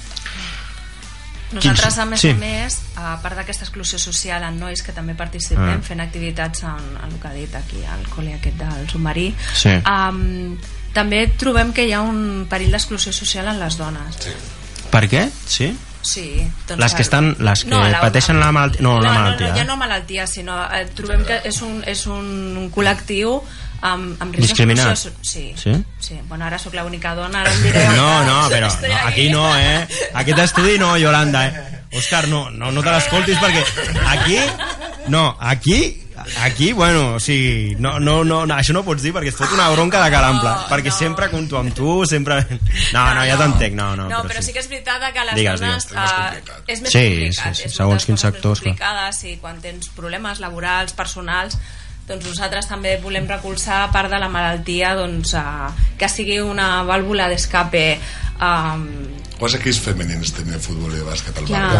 S5: Nosaltres,
S2: Quins-
S5: a més
S2: sí.
S5: a més, a part d'aquesta exclusió social en nois que també participem
S2: Ah.
S5: fent activitats en, en el que ha dit aquí al col·le aquest del submarí,
S2: Sí.
S5: em, també trobem que hi ha un perill d'exclusió social en les dones. Sí.
S2: Per què? Sí?
S5: Sí, doncs
S2: Les que estan- les que pateixen la malaltia- no, la malaltia,
S5: No, no,
S2: eh?
S5: ja no malaltia, sinó eh, trobem que és un, és un col·lectiu amb, amb risc
S2: Discriminat.
S5: d'exclusió so- Sí,
S2: Sí?
S5: sí? sí. Bueno, ara sóc l'única dona, ara em diré...
S2: No, no, però
S5: Eh, Estoy
S2: no, aquí no, eh? Aquest estudi no, Yolanda, eh? Òscar, no, no, no te l'escoltis perquè aquí... No, aquí... Aquí, bueno, o sigui, no, no, no, no, això no ho pots dir perquè et fot una bronca de cara ampla,
S5: No,
S2: perquè
S5: no.
S2: sempre compto amb tu, sempre... No, no, ja t'entenc, no, no.
S5: No, però, sí. que és veritat que les
S2: Digues,
S5: dones
S6: digues.
S5: eh, és més
S2: Sí, sí,
S5: complicat.
S2: sí,
S5: és
S2: segons
S5: moltes
S2: quins
S5: coses
S2: sectors,
S5: Més
S2: clar.
S5: complicades i quan tens problemes laborals, personals, doncs nosaltres també volem recolzar a part de la malaltia doncs, eh, que sigui una vàlvula d'escape eh,
S6: quants equips femenins tenen de futbol i de bàsquet al
S5: clar,
S6: barri?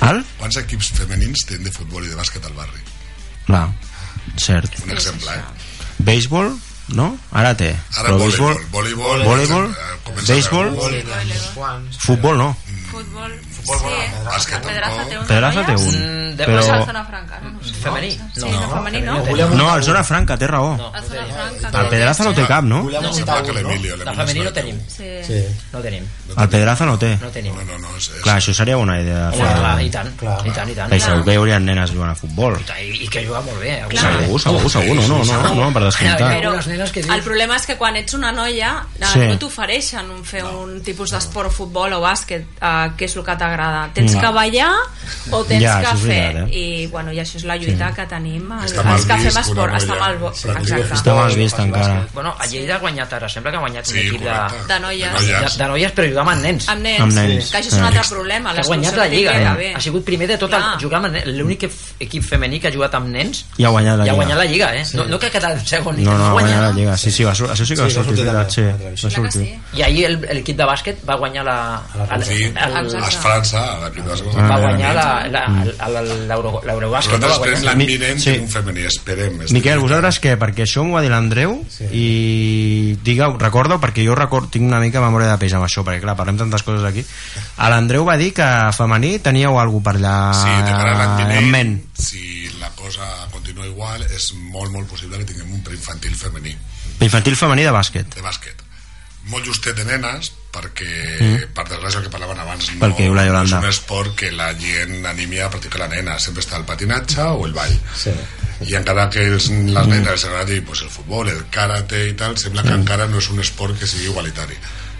S2: Al?
S6: Quants equips femenins tenen de futbol i de bàsquet al barri?
S2: Clar, cert.
S6: Un exemple, eh?
S2: Béisbol, no? Ara té.
S6: Ara
S2: però
S6: voleibol.
S2: béisbol,
S6: Voleibol,
S2: voleibol,
S6: eh, comença a
S2: béisbol,
S6: veure
S4: Vol i uns quants.
S2: futbol no.
S5: futbol,
S4: Futbol,
S5: sí.
S4: bueno,
S6: bàsquet
S5: Pedraza
S6: tampoc.
S5: té un
S2: Pedraza té un,
S3: Mm, de-
S5: Però...
S3: Però-
S5: És el
S2: però...
S5: Zona Franca, no? no sé.
S3: Femení?
S5: Sí, no, femení no.
S3: té.
S4: Volem-
S2: No, el Zona Franca, té raó.
S3: No,
S5: El
S3: no
S5: Zona
S3: tenim.
S5: Franca.
S2: El Pedraza no té cap, no?
S4: Volem
S6: No,
S4: un
S6: sembla que
S4: taul, no?
S6: l'Emilio.
S3: La
S6: l'Emilio
S3: femení
S6: sembla
S3: no tenim.
S5: Sí.
S4: Sí,
S3: No tenim.
S2: El Pedraza no té.
S3: No
S6: que
S3: tenim.
S6: No, no, no, és, és...
S2: Clar, això seria bona idea. de
S3: Home,
S2: fer-
S3: clar, i tant,
S4: Clar.
S3: i tant, i tant.
S2: Que segur que hi haurien nenes jugant a futbol.
S3: I, i Ah, que juga molt bé. Eh?
S2: Segur, segur, segur, no, no, no, no per
S3: Però
S6: Ah.
S2: descomptat.
S3: les nenes que dius-
S5: el problema és que quan ets una noia eh,
S2: Sí.
S5: no t'ofereixen un- fer un tipus d'esport, futbol o bàsquet, eh, que és el que t'agrada. Tens
S2: No.
S5: que ballar o tens
S2: Ja,
S5: que
S2: això és
S5: fer.
S2: veritat, eh?
S5: I, bueno, I això és la lluita que tenim els,
S6: Està mal
S5: els que
S6: vist
S5: fem
S6: una
S5: esport.
S6: noia
S5: Està mal bo...
S6: que practica
S5: Exacte.
S2: Està mal vist encara.
S3: Bueno, a Lleida ha guanyat ara, sembla que ha guanyat un
S6: Sí,
S3: equip de,
S6: correcte.
S5: de noies.
S3: de, de noies, però jugava amb nens.
S5: Amb nens,
S2: Amb nens. Eh.
S5: que això és un
S2: Sí.
S5: altre problema.
S3: Ha guanyat
S5: l'exclusió
S3: la Lliga,
S5: primera,
S3: eh?
S5: bé.
S3: Ha sigut primer de tot el...
S5: Clar.
S3: Jugava amb nens. L'únic ef- equip femení que ha jugat amb nens
S2: I ha guanyat la
S3: i ha guanyat
S2: Lliga.
S3: la Lliga, eh? No, no que ha quedat en segon.
S2: No, no, ha guanyat
S3: guanyat.
S2: la Lliga. Sí, sí, va sur- això sí que va
S4: Sí, va
S2: sortir,
S4: sortir
S2: veritat, sí.
S4: també, a la televisió.
S2: Va
S5: Clar que
S2: sortir.
S5: sí.
S3: I ahir el- l'equip de bàsquet va guanyar la... el-
S6: Sí,
S3: el-
S5: Exacte.
S6: es França, a la primera segona.
S3: va
S2: Ah,
S3: guanyar la- la- la- l'Euro- l'Eurobàsquet. no
S6: Nosaltres
S3: va guanyar.
S6: esperem l'any
S2: Mi-
S6: vinent
S2: sí.
S6: sí. un femení, esperem. estem-
S2: Miquel, vosaltres què? Perquè això m'ho va dir l'Andreu
S4: Sí.
S2: i digueu, recordo, perquè jo record, tinc una mica memòria de peix amb això, perquè clar, parlem tantes coses aquí. A l'Andreu va dir que femení teníeu alguna per allà
S6: Sí, de cara
S2: Ah,
S6: a l'any vinent,
S2: en ment.
S6: si la cosa continua igual, és molt, molt possible que tinguem un preinfantil femení
S2: Infantil femení de bàsquet.
S6: de bàsquet. Molt justet de nenes, perquè,
S2: Mm.
S6: per desgràcia, el que parlaven abans, no,
S2: Pel que diu la
S6: no és
S2: Yolanda.
S6: un esport que la gent animi a practicar la nena. Sempre està el patinatge o el ball.
S4: sí.
S6: I encara que els,
S2: Mm.
S6: les nenes els agradi pues, el futbol, el karate i tal, sembla que encara no és un esport que sigui igualitari.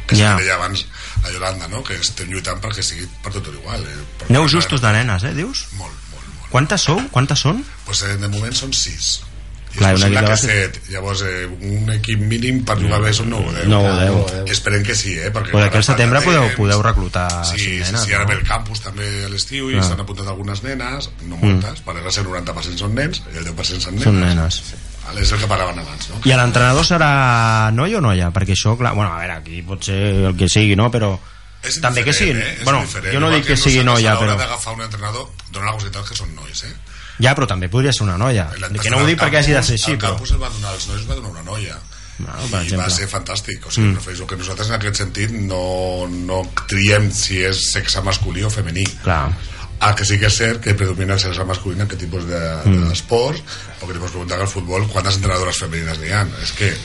S6: Que
S2: Ja.
S6: yeah. deia abans a Yolanda, no? que estem lluitant perquè sigui per tot igual. Eh? Per
S2: Aneu justos de nenes, eh, dius?
S6: Molt, molt, molt.
S2: Quantes sou? Quantes són?
S6: Pues, eh, de moment són sis. I
S2: Clar,
S6: és
S2: una
S6: possible
S2: mica
S6: que
S2: base.
S6: set. Llavors, eh, un equip mínim per jugar bé són 9 o 10.
S2: No ho
S4: Déu,
S2: deu.
S4: Déu.
S6: eh? Esperem que sí, eh? Perquè
S2: Però d'aquí
S6: encara
S2: al
S6: falta
S2: setembre
S6: temps.
S2: podeu, podeu reclutar
S6: Sí,
S2: sis
S6: sí,
S2: nenes,
S6: sí, ara
S2: no?
S6: ve el campus també a l'estiu i s'han apuntat algunes nenes, no moltes, per ara el 90% són nens i el 10% són nenes.
S2: Mm. Són nenes.
S6: Vale, és el que parlaven abans, no?
S2: I a l'entrenador serà noi o noia? Perquè això, clar, bueno, a veure, aquí pot ser el que sigui, no? Però
S6: És
S2: també que sí.
S6: indiferent, Eh? És
S2: bueno,
S6: indiferent.
S2: jo no
S6: Igual
S2: dic que
S6: no
S2: sigui
S6: s'ha-
S2: noia,
S6: s'ha d'hora
S2: però...
S6: d'agafar un entrenador, donar la casualitat que són nois, eh?
S2: Ja, però també podria ser una noia. Que no ho dic perquè hagi de ser així,
S6: El
S2: però...
S6: campus el va donar, els nois va donar una noia.
S2: Bueno,
S6: I
S2: per exemple.
S6: va ser fantàstic o sigui, mm. prefereixo que nosaltres en aquest sentit no, no triem si és sexe masculí o femení
S2: Clar.
S6: el que sí que és cert que predomina el sexe masculí en aquest tipus de- d'esports de, mm. perquè li pots preguntar que al futbol quantes entrenadores femenines n'hi ha és que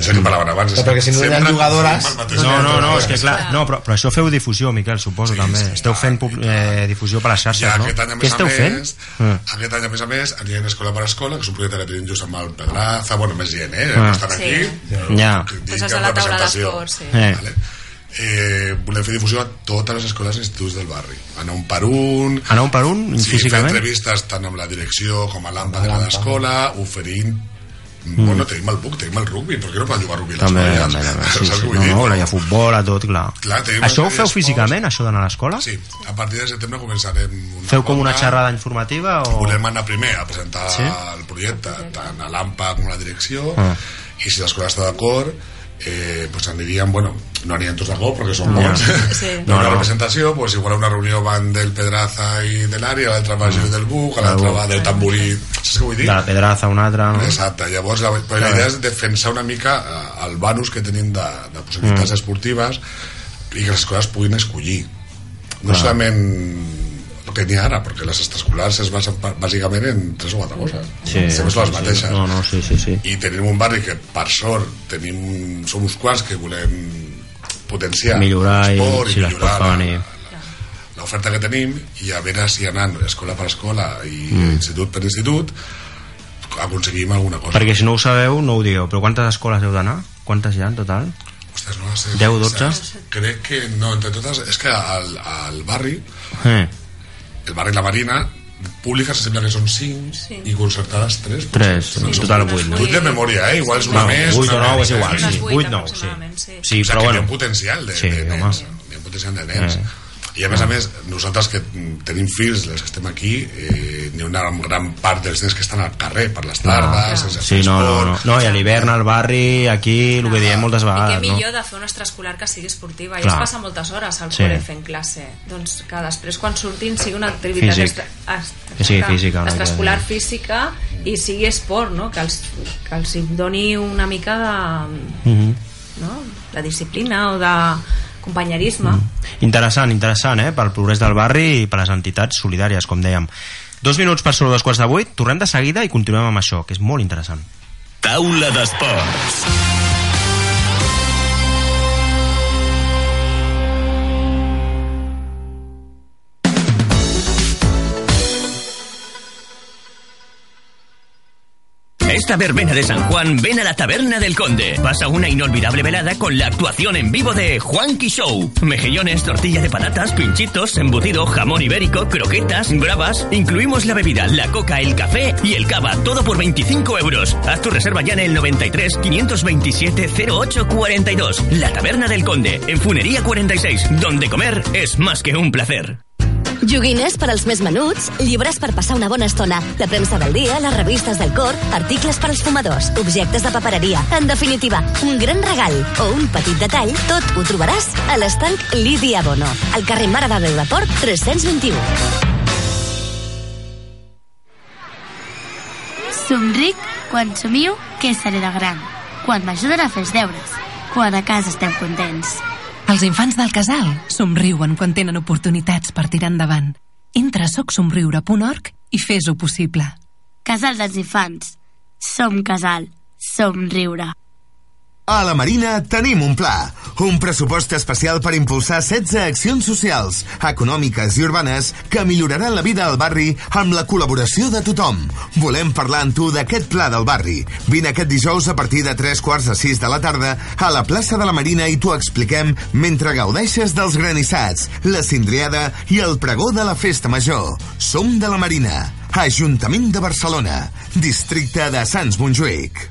S6: és el que parlaven abans és
S4: Però perquè si no hi ha
S6: sempre
S4: jugadores,
S6: confiem el mateix
S2: No, no, no, és que
S6: entrenador.
S2: clar, no, però, però això feu difusió, Miquel, suposo,
S6: Sí,
S2: també.
S6: sí,
S2: Esteu
S6: clar,
S2: fent pub- eh, difusió per les xarxes,
S6: Ja,
S2: no?
S6: aquest any, a
S2: Què
S6: més a
S2: esteu fent?
S6: més,
S2: Ah.
S6: aquest any, a més a més, anirem escola per escola, que és un projecte que tenim just amb el Pedraza, bueno, més gent, eh?
S2: Ah.
S6: No estan
S5: Sí.
S6: aquí. però
S2: Ja.
S6: que
S5: Doncs
S6: tinc
S5: és de la taula
S6: representació.
S5: d'esport, sí.
S2: Eh.
S6: Vale. Eh, volem fer difusió a totes les escoles i instituts del barri. Anar un per un...
S2: Anar un per un,
S6: Sí, fer
S2: físicament?
S6: entrevistes tant amb la direcció com a l'AMPA de
S4: Amb
S6: cada
S4: l'AMPA.
S6: escola, oferint Mm. Bueno, tenim el buc, tenim el rugby, per què no poden jugar a rugby a les
S2: També,
S6: noies?
S2: també, també, sí, sí.
S6: Saps què vull
S2: No,
S6: dir?
S2: no, hi ha futbol, a tot, clar.
S6: Clar, tenim
S2: això ho
S6: aquelles
S2: feu
S6: coses.
S2: físicament, això d'anar a l'escola?
S6: Sí, a partir de setembre començarem... Una
S2: Feu com una
S6: volta.
S2: xerrada informativa o...
S6: Volem anar primer a presentar
S2: Sí?
S6: sí? el projecte, tant a l'AMPA com a la direcció,
S2: Ah.
S6: ah. i si l'escola està d'acord, eh, pues aniríem, bueno, no aniríem tots d'acord perquè són molts,
S5: Sí.
S6: no,
S2: No,
S6: una
S2: no.
S6: representació, pues igual a una reunió van del Pedraza i de l'àrea, l'altra
S2: Ah.
S6: va Gil del Buc, l'altra va del Tamborí, saps què vull
S2: De
S6: dir?
S2: la pedraza a una altra... No?
S6: Exacte, llavors la, però la idea és defensar una mica eh, el bonus que tenim de, de possibilitats mm. esportives i que les escoles puguin escollir no ah. solament el que n'hi ha ara, perquè les extraescolars es basen pa- bàsicament en tres o quatre coses sempre són les mateixes
S2: No, no, sí, sí, sí.
S6: i tenim un barri que per sort tenim, som uns quants que volem potenciar
S2: Millorar i
S6: l'esport
S2: si les
S6: millorar
S2: pots fan
S6: la-
S2: i...
S6: l'oferta que tenim i a veure si anant escola per escola i mm. institut per institut aconseguim alguna cosa
S2: Perquè si no ho sabeu, no ho digueu, però quantes escoles heu d'anar? Quantes hi ha en total?
S6: Ostres, no sé,
S2: 10 o 12?
S6: saps? Crec que no, entre totes... És que al, al barri,
S2: Eh,
S6: el barri La Marina, públiques sembla que són 5
S5: Sí.
S6: i concertades 3.
S2: Tres, en Doncs total vuit, no?
S6: de memòria, eh? Igual és una
S2: Bueno,
S6: més...
S2: vuit
S6: una
S2: o nou
S6: menys,
S2: és igual,
S6: eh?
S5: Unes
S2: sí. 8,
S5: vuit
S2: 9, sí.
S5: aproximadament, sí.
S2: Sí,
S6: o sigui,
S2: però
S6: que hi ha
S2: bueno.
S6: un potencial de,
S2: Sí,
S6: de
S2: home.
S6: nens. Hi ha un potencial de nens.
S2: Eh.
S6: I a més a més, nosaltres que mm, tenim fills, els que estem aquí, eh, n'hi ha una gran part dels nens que estan al carrer per les tardes, sense
S2: Ah. Sí, no, no, no. No, i a l'hivern al barri, aquí, el que diem moltes
S5: Ah, I
S2: vegades,
S5: que
S2: Ah, no?
S5: millor de fer una extraescolar que sigui esportiva. I
S2: Clar.
S5: es passa moltes hores al
S2: Sí.
S5: sí. col·le fent classe. Doncs que després, quan surtin, sigui una activitat
S2: Físic.
S5: extra, extra,
S2: Que sigui física, una
S5: extraescolar
S2: mica,
S5: física i sigui esport, no? Que els, que els hi doni una mica de,
S2: Mhm.
S5: no? de disciplina o de companyerisme.
S2: Mm. Interessant, interessant, eh? Pel progrés del barri i per les entitats solidàries, com dèiem. Dos minuts per sobre dos quarts de vuit, tornem de seguida i continuem amb això, que és molt interessant.
S1: Taula d'esports.
S7: Esta verbena de San Juan ven a la Taberna del Conde. Pasa una inolvidable velada con la actuación en vivo de Juanqui Show. Mejillones, tortilla de patatas, pinchitos, embutido, jamón ibérico, croquetas, bravas. Incluimos la bebida, la coca, el café y el cava. Todo por 25 euros. Haz tu reserva ya en el 93 527 0842. La Taberna del Conde, en Funería 46, donde comer es más que un placer.
S8: Joguines per als més menuts, llibres per passar una bona estona, la premsa del dia, les revistes del cor, articles per als fumadors, objectes de papereria... En definitiva, un gran regal o un petit detall, tot ho trobaràs a l'estanc Lídia Bono, al carrer Mare de Déu de Port 321.
S9: Somric quan somio que seré de gran, quan m'ajuden a fer els deures, quan a casa estem contents.
S10: Els infants del casal somriuen quan tenen oportunitats per tirar endavant. Entra a socsomriure.org i fes-ho possible.
S9: Casal dels infants. Som casal. Som riure.
S11: A la Marina tenim un pla. Un pressupost especial per impulsar 16 accions socials, econòmiques i urbanes que milloraran la vida al barri amb la col·laboració de tothom. Volem parlar amb tu d'aquest pla del barri. Vine aquest dijous a partir de 3 quarts de 6 de la tarda a la plaça de la Marina i t'ho expliquem mentre gaudeixes dels granissats, la cindriada i el pregó de la festa major. Som de la Marina, Ajuntament de Barcelona, districte de Sants Montjuïc.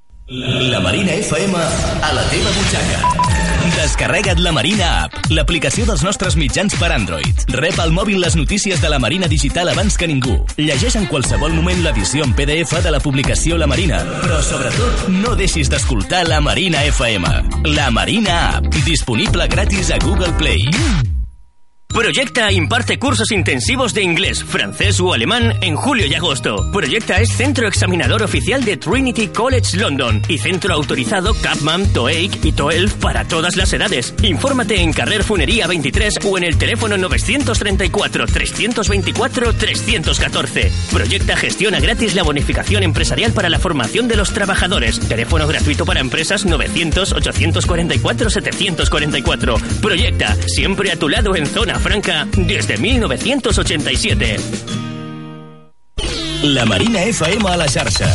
S1: La Marina FM a la teva butxaca. Descarrega't la Marina App, l'aplicació dels nostres mitjans per Android. Rep al mòbil les notícies de la Marina Digital abans que ningú. Llegeix en qualsevol moment l'edició en PDF de la publicació La Marina. Però, sobretot, no deixis d'escoltar la Marina FM. La Marina App, disponible gratis a Google Play.
S7: Proyecta imparte cursos intensivos de inglés, francés o alemán en julio y agosto. Proyecta es centro examinador oficial de Trinity College London y centro autorizado Capman, TOEIC y TOEFL para todas las edades. Infórmate en Carrer Funería 23 o en el teléfono 934 324 314. Proyecta gestiona gratis la bonificación empresarial para la formación de los trabajadores. Teléfono gratuito para empresas 900 844 744. Proyecta, siempre a tu lado en Zona Franca desde 1987.
S1: La Marina FM a la xarxa.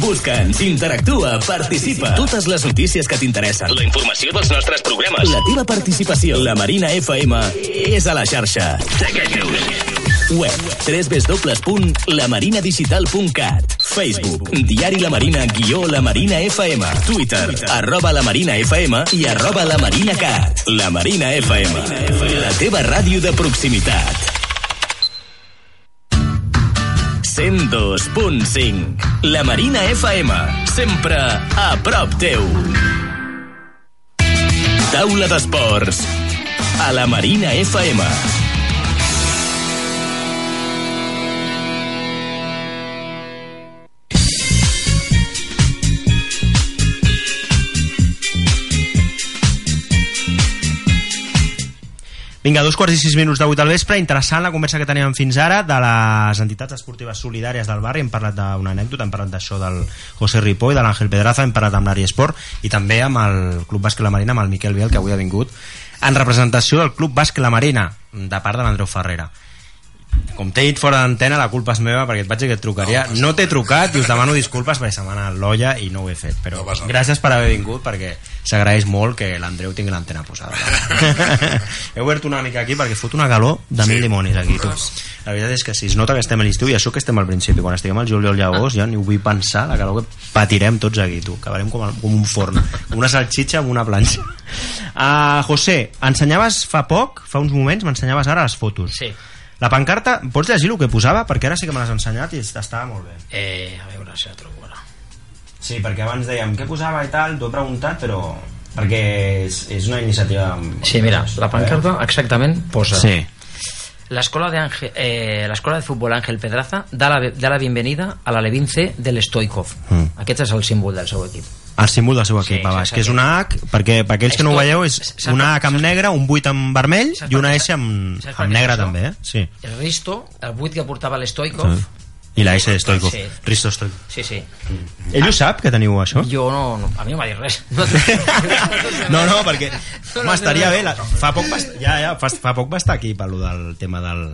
S1: Busca'ns, interactua, participa. Totes les notícies que t'interessen.
S7: La informació dels nostres programes.
S1: La teva participació. La Marina FM és a la xarxa. Web www.lamarinadigital.cat Facebook Diari La Marina guió La Marina FM Twitter arroba La Marina FM i arroba La Marina Cat La Marina FM La teva ràdio de proximitat 102.5 La Marina FM Sempre a prop teu Taula d'esports a la Marina FM.
S2: Vinga, dos quarts i sis minuts de vuit del vespre. Interessant la conversa que teníem fins ara de les entitats esportives solidàries del barri. Hem parlat d'una anècdota, hem parlat d'això del José Ripó i de l'Àngel Pedraza, hem parlat amb l'Ari Esport i també amb el Club Bàsquet La Marina, amb el Miquel Biel, que avui ha vingut en representació del Club Bàsquet La Marina, de part de l'Andreu Ferrera. Com t'he dit fora d'antena, la culpa és meva perquè et vaig dir que et trucaria. No, t'he trucat i us demano disculpes perquè se m'ha anat l'olla i no ho he fet. Però gràcies per haver vingut perquè s'agraeix molt que l'Andreu tingui l'antena posada. he obert una mica aquí perquè fot una calor de sí. mil dimonis aquí. Tu. La veritat és que si es nota que estem a l'estiu i això que estem al principi, quan estiguem al juliol
S3: Ah.
S2: i agost ja ni ho vull pensar, la calor que patirem tots aquí, tu. Acabarem com, com un forn. Com una salxitxa amb una planxa. Uh, José, ensenyaves fa poc, fa uns moments, m'ensenyaves ara les fotos.
S3: Sí.
S2: La pancarta, pots llegir el que posava? Perquè ara sí que me l'has ensenyat i estava molt bé.
S3: Eh, a veure si la trobo ara.
S2: Sí, perquè abans dèiem què posava i tal, t'ho he preguntat, però... Perquè és, és una iniciativa... amb- Eh?
S3: Sí, mira, la pancarta exactament posa...
S2: Sí.
S3: L'escola de, Ángel- eh, l'escola de futbol Ángel Pedraza da la, da la bienvenida a la Levin C de l'Stoikov. Mm. Aquest és el símbol del seu equip.
S2: El símbol del seu equip, sí, baix, que és una H, perquè per aquells que no ho
S3: Esto-
S2: veieu, és
S3: saps
S2: una
S3: per-
S2: H amb negre, un 8 amb vermell
S3: saps
S2: i una
S3: per què-
S2: S amb,
S3: saps per
S2: amb
S3: què
S2: negre
S3: és això?
S2: també, eh? Sí.
S3: El Risto, el 8 que portava l'Stoikov...
S2: Sí. I la S de Stoico.
S3: Sí.
S2: Risto Stoico.
S3: Sí, sí.
S2: Ell ho sap, que teniu això?
S3: Jo no, no a mi no m'ha dit res.
S2: No, no, perquè
S3: no,
S2: home, estaria
S3: no.
S2: bé. La, fa, poc va, est- ja, ja, fa, fa poc va estar aquí per lo del tema del,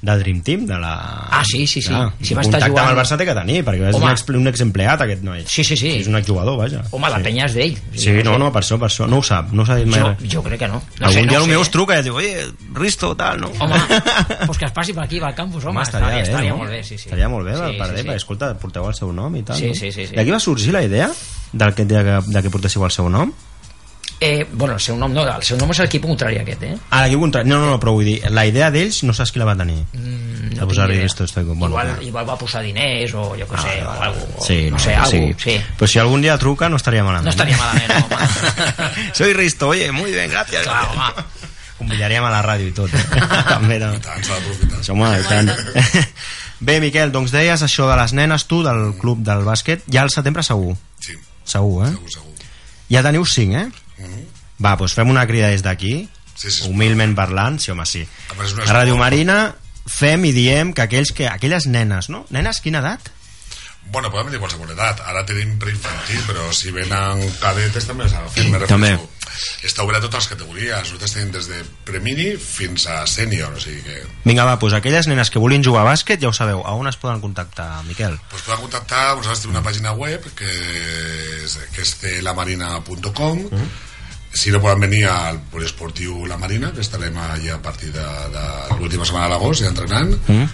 S2: del Dream Team, de la...
S3: Ah, sí, sí, sí. Si va estar
S2: contacte
S3: jugant-
S2: amb el Barça té que tenir, perquè és
S3: Home.
S2: un, ex, un exempleat aquest noi.
S3: Sí, sí, sí.
S2: És un exjugador, vaja.
S3: Home, la
S2: sí.
S3: penya és d'ell.
S2: Sí, no, no, per això, per això. No ho sap, no s'ha dit mai
S3: Jo,
S2: res.
S3: jo crec que no. no
S2: Algun
S3: sé,
S2: dia
S3: no
S2: el
S3: sé.
S2: meu es truca i et diu, oye, Risto, tal, no?
S3: Home, pues que es passi per aquí, pel campus, home. estaria, estaria molt bé, sí, sí.
S2: Eh, Estaria molt bé,
S3: sí,
S2: sí, per sí,
S3: sí,
S2: perquè, escolta, porteu el seu nom i tal.
S3: Sí,
S2: no?
S3: sí, sí, sí.
S2: D'aquí va sorgir la idea del que, de, que, de que portéssiu el seu nom?
S3: sí. Eh, bueno, el seu nom, no, el seu nom és l'equip contrari aquest, eh?
S2: Ah, d'aquí contrari. No, no, no, però vull dir, la idea d'ells no saps qui la va tenir. Mm,
S3: no tinc idea.
S2: Risto, estoy con... Bueno,
S3: igual,
S2: clar.
S3: igual va posar diners o jo què sé, o algo,
S2: Sí,
S3: no, sé,
S2: que
S3: algo,
S2: sigui.
S3: sí.
S2: Però si algun dia truca no estaria malament.
S3: No estaria malament, home.
S2: Soy Risto, oye, muy bien, gracias.
S3: Clar, home.
S2: Convidaríem a la ràdio i tot. Eh? També, no.
S6: Tant, s'ha d'aprofitar.
S2: Home, i tant. Bé, Miquel, doncs deies això de les nenes, tu, del club del bàsquet. Ja al setembre segur.
S6: Sí.
S2: Segur, eh?
S6: Segur, segur.
S2: Ja teniu cinc, eh?
S6: Mhm.
S2: Va, doncs fem una crida des d'aquí,
S6: Sí, sí,
S2: humilment parlant, sí, home, sí.
S6: A més, no és
S2: A Ràdio
S6: molt-
S2: Marina fem i diem que aquells que aquelles nenes, no? Nenes, quina edat?
S6: Bueno, podem dir qualsevol edat. Ara tenim preinfantil, però si venen cadetes també s'ha de fer. Me refereixo.
S2: També.
S6: Està obert a totes les categories. Nosaltres tenim des de premini fins a sènior, o sigui que...
S2: Vinga, va, doncs aquelles nenes que vulguin jugar a bàsquet, ja ho sabeu, a on es poden contactar, Miquel?
S6: Pues podeu contactar, vosaltres teniu una pàgina web que és, que és tlamarina.com mm. si no poden venir al poliesportiu La Marina, que estarem allà a partir de, de l'última setmana d'agost ja entrenant mm.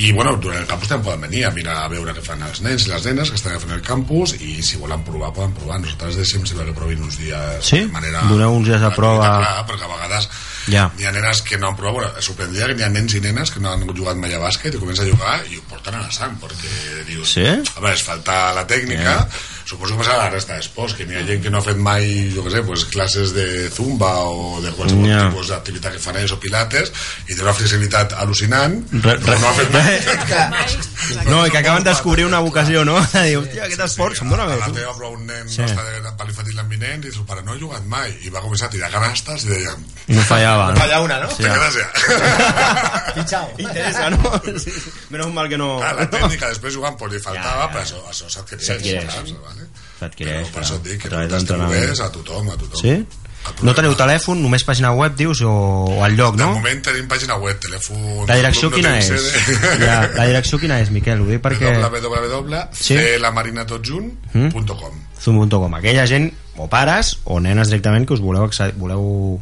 S6: i bueno, durant el campus també poden venir a mirar a veure què fan els nens i les nenes que estan fent el campus i si volen provar poden provar, nosaltres deixem sempre que provin uns dies
S2: Sí?
S6: de manera
S2: Doneu uns dies de prova.
S6: clar, perquè a vegades
S2: Ja.
S6: hi ha nenes que no han provat, bueno, sorprendria que hi ha nens i nenes que no han jugat mai a bàsquet i comença a jugar i ho porten a la sang, perquè dius,
S2: Sí?
S6: a veure, es falta la tècnica, Suposo que passarà a la resta d'esports, que n'hi ha gent que no ha fet mai, jo què sé, pues, classes de zumba o de qualsevol
S2: Ja.
S6: yeah. tipus d'activitat que fan ells o pilates, i té una flexibilitat al·lucinant,
S2: Re-
S6: però no ha fet mai.
S2: No, i que acaben de descobrir una vocació, no? De dir, hòstia, aquest esport se'm dóna bé.
S6: A la teva prou un nen
S2: Sí.
S6: sí. no està de palifatil l'amminent i diu, pare, no he jugat mai. I va començar a tirar canastes i deia...
S2: No fallava, no?
S6: No falla una, no?
S2: Sí.
S6: Sí. Gràcies.
S2: Interessa, no? Sí. Menos mal que no...
S6: Clar, la tècnica després jugant pues, li faltava, ja, ja. però això, això s'adquireix.
S2: S'adquireix.
S6: saps? Vale?
S2: S'adquireix,
S6: Per això et dic que
S2: a través
S6: t'estribés
S2: d'entrenament.
S6: a tothom, a tothom.
S2: Sí? No teniu telèfon, només pàgina web, dius, o, o al lloc,
S6: De
S2: no?
S6: moment tenim pàgina web, telèfon...
S2: La direcció
S6: club,
S2: quina
S6: tenim
S2: és?
S6: sede.
S2: Ja, la direcció quina és, Miquel? Ho dic perquè... Sí.
S6: www.clamarinatotjunt.com
S2: Hmm? Zoom.com. Aquella gent, o pares, o nenes directament, que us voleu, acce- voleu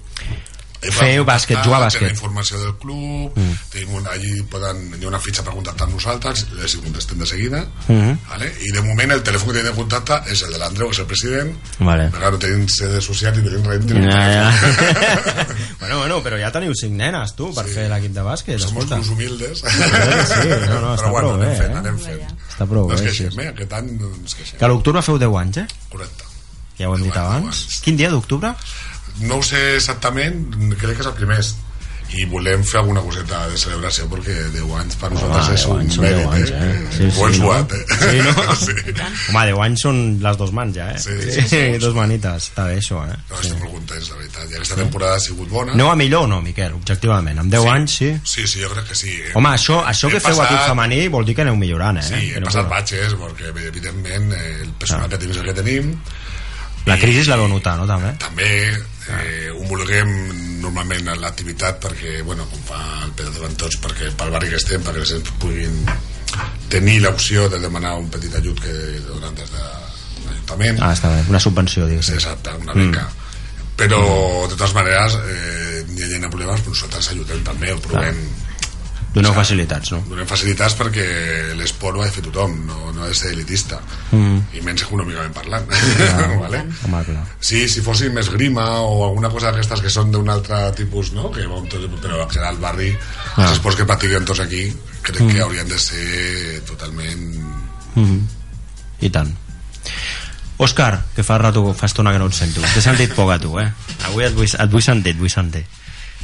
S2: fer bàsquet, jugar a
S6: Tenim
S2: bàsquet.
S6: ah, informació del club,
S2: Mm.
S6: tenim un, allí poden, hi ha una fitxa per contactar amb nosaltres, les hi contestem de seguida,
S2: Mhm.
S6: vale? i de moment el telèfon que tenim de contacte és el de l'Andreu, que és el president,
S2: Vale.
S6: però claro, tenim sede social i tenim rent.
S2: Ja, ja. bueno, bueno, però ja teniu cinc nenes, tu, per sí. fer l'equip de bàsquet.
S6: Som uns
S2: escolta.
S6: clubs humildes.
S2: Sí, no, no, està
S6: però bueno,
S2: prou
S6: anem
S2: bé,
S6: fent,
S2: eh?
S6: anem fent.
S2: Està prou
S6: no ens
S2: bé,
S6: queixem,
S2: sí.
S6: eh? Aquest any no ens queixem.
S2: Que a l'octubre feu 10 anys, eh?
S6: Correcte.
S2: Ja ho hem dit abans. Quin dia d'octubre?
S6: No ho sé exactament, crec que és el primer i volem fer alguna coseta de celebració perquè 10 anys per nosaltres
S2: Home,
S6: és
S2: 10
S6: un
S2: anys són
S6: mèrit
S2: 10 anys,
S6: eh?
S2: eh? Sí, sí,
S6: Ho hem
S2: no?
S6: suat, eh?
S2: Sí, no?
S6: sí.
S2: Home, 10 anys són les dues mans, ja, eh?
S6: Sí, sí, sí.
S2: Dos manites. Està bé, això, eh?
S6: No, estic molt contents, la veritat. I aquesta temporada ha sigut bona.
S2: Aneu a millor o no, Miquel? Objectivament. Amb 10
S6: Sí.
S2: anys, sí?
S6: Sí, sí, jo crec que sí. Eh?
S2: Home, això, això que
S6: He
S2: feu
S6: passat-
S2: equip femení vol dir que aneu millorant, eh?
S6: Sí, he
S2: Però,
S6: passat batxes, perquè evidentment eh, el personal que tenim és el que tenim,
S2: La crisi la veu notar, no, també?
S6: també
S2: Ah.
S6: eh, homologuem normalment l'activitat perquè, bueno, com fa el Pere davant tots, perquè pel barri que estem, perquè les gent puguin tenir l'opció de demanar un petit ajut que donen des de l'Ajuntament.
S2: Ah, està bé. Una subvenció, Mm. digues.
S6: Exacte, una beca. Però,
S2: Mm.
S6: de totes maneres, eh, hi ha gent amb problemes, però nosaltres ajudem també, o provem,
S2: Doneu facilitats, no?
S6: donem facilitats perquè l'esport ho ha de fer tothom, no, no ha de ser elitista,
S2: Mm.
S6: i menys econòmicament parlant. vale?
S2: Home, clar.
S6: Sí, si fossin més grima o alguna cosa d'aquestes que són d'un altre tipus, no? Que va un tot, però en general el barri,
S2: Ah.
S6: els esports que practiquen tots aquí, crec
S2: Mm.
S6: que haurien de ser totalment...
S2: Mm. I tant. Òscar, que fa rato, fa estona que no et sento. T'he sentit poc a tu, eh? Avui et vull, et vull sentir, et vull sentir.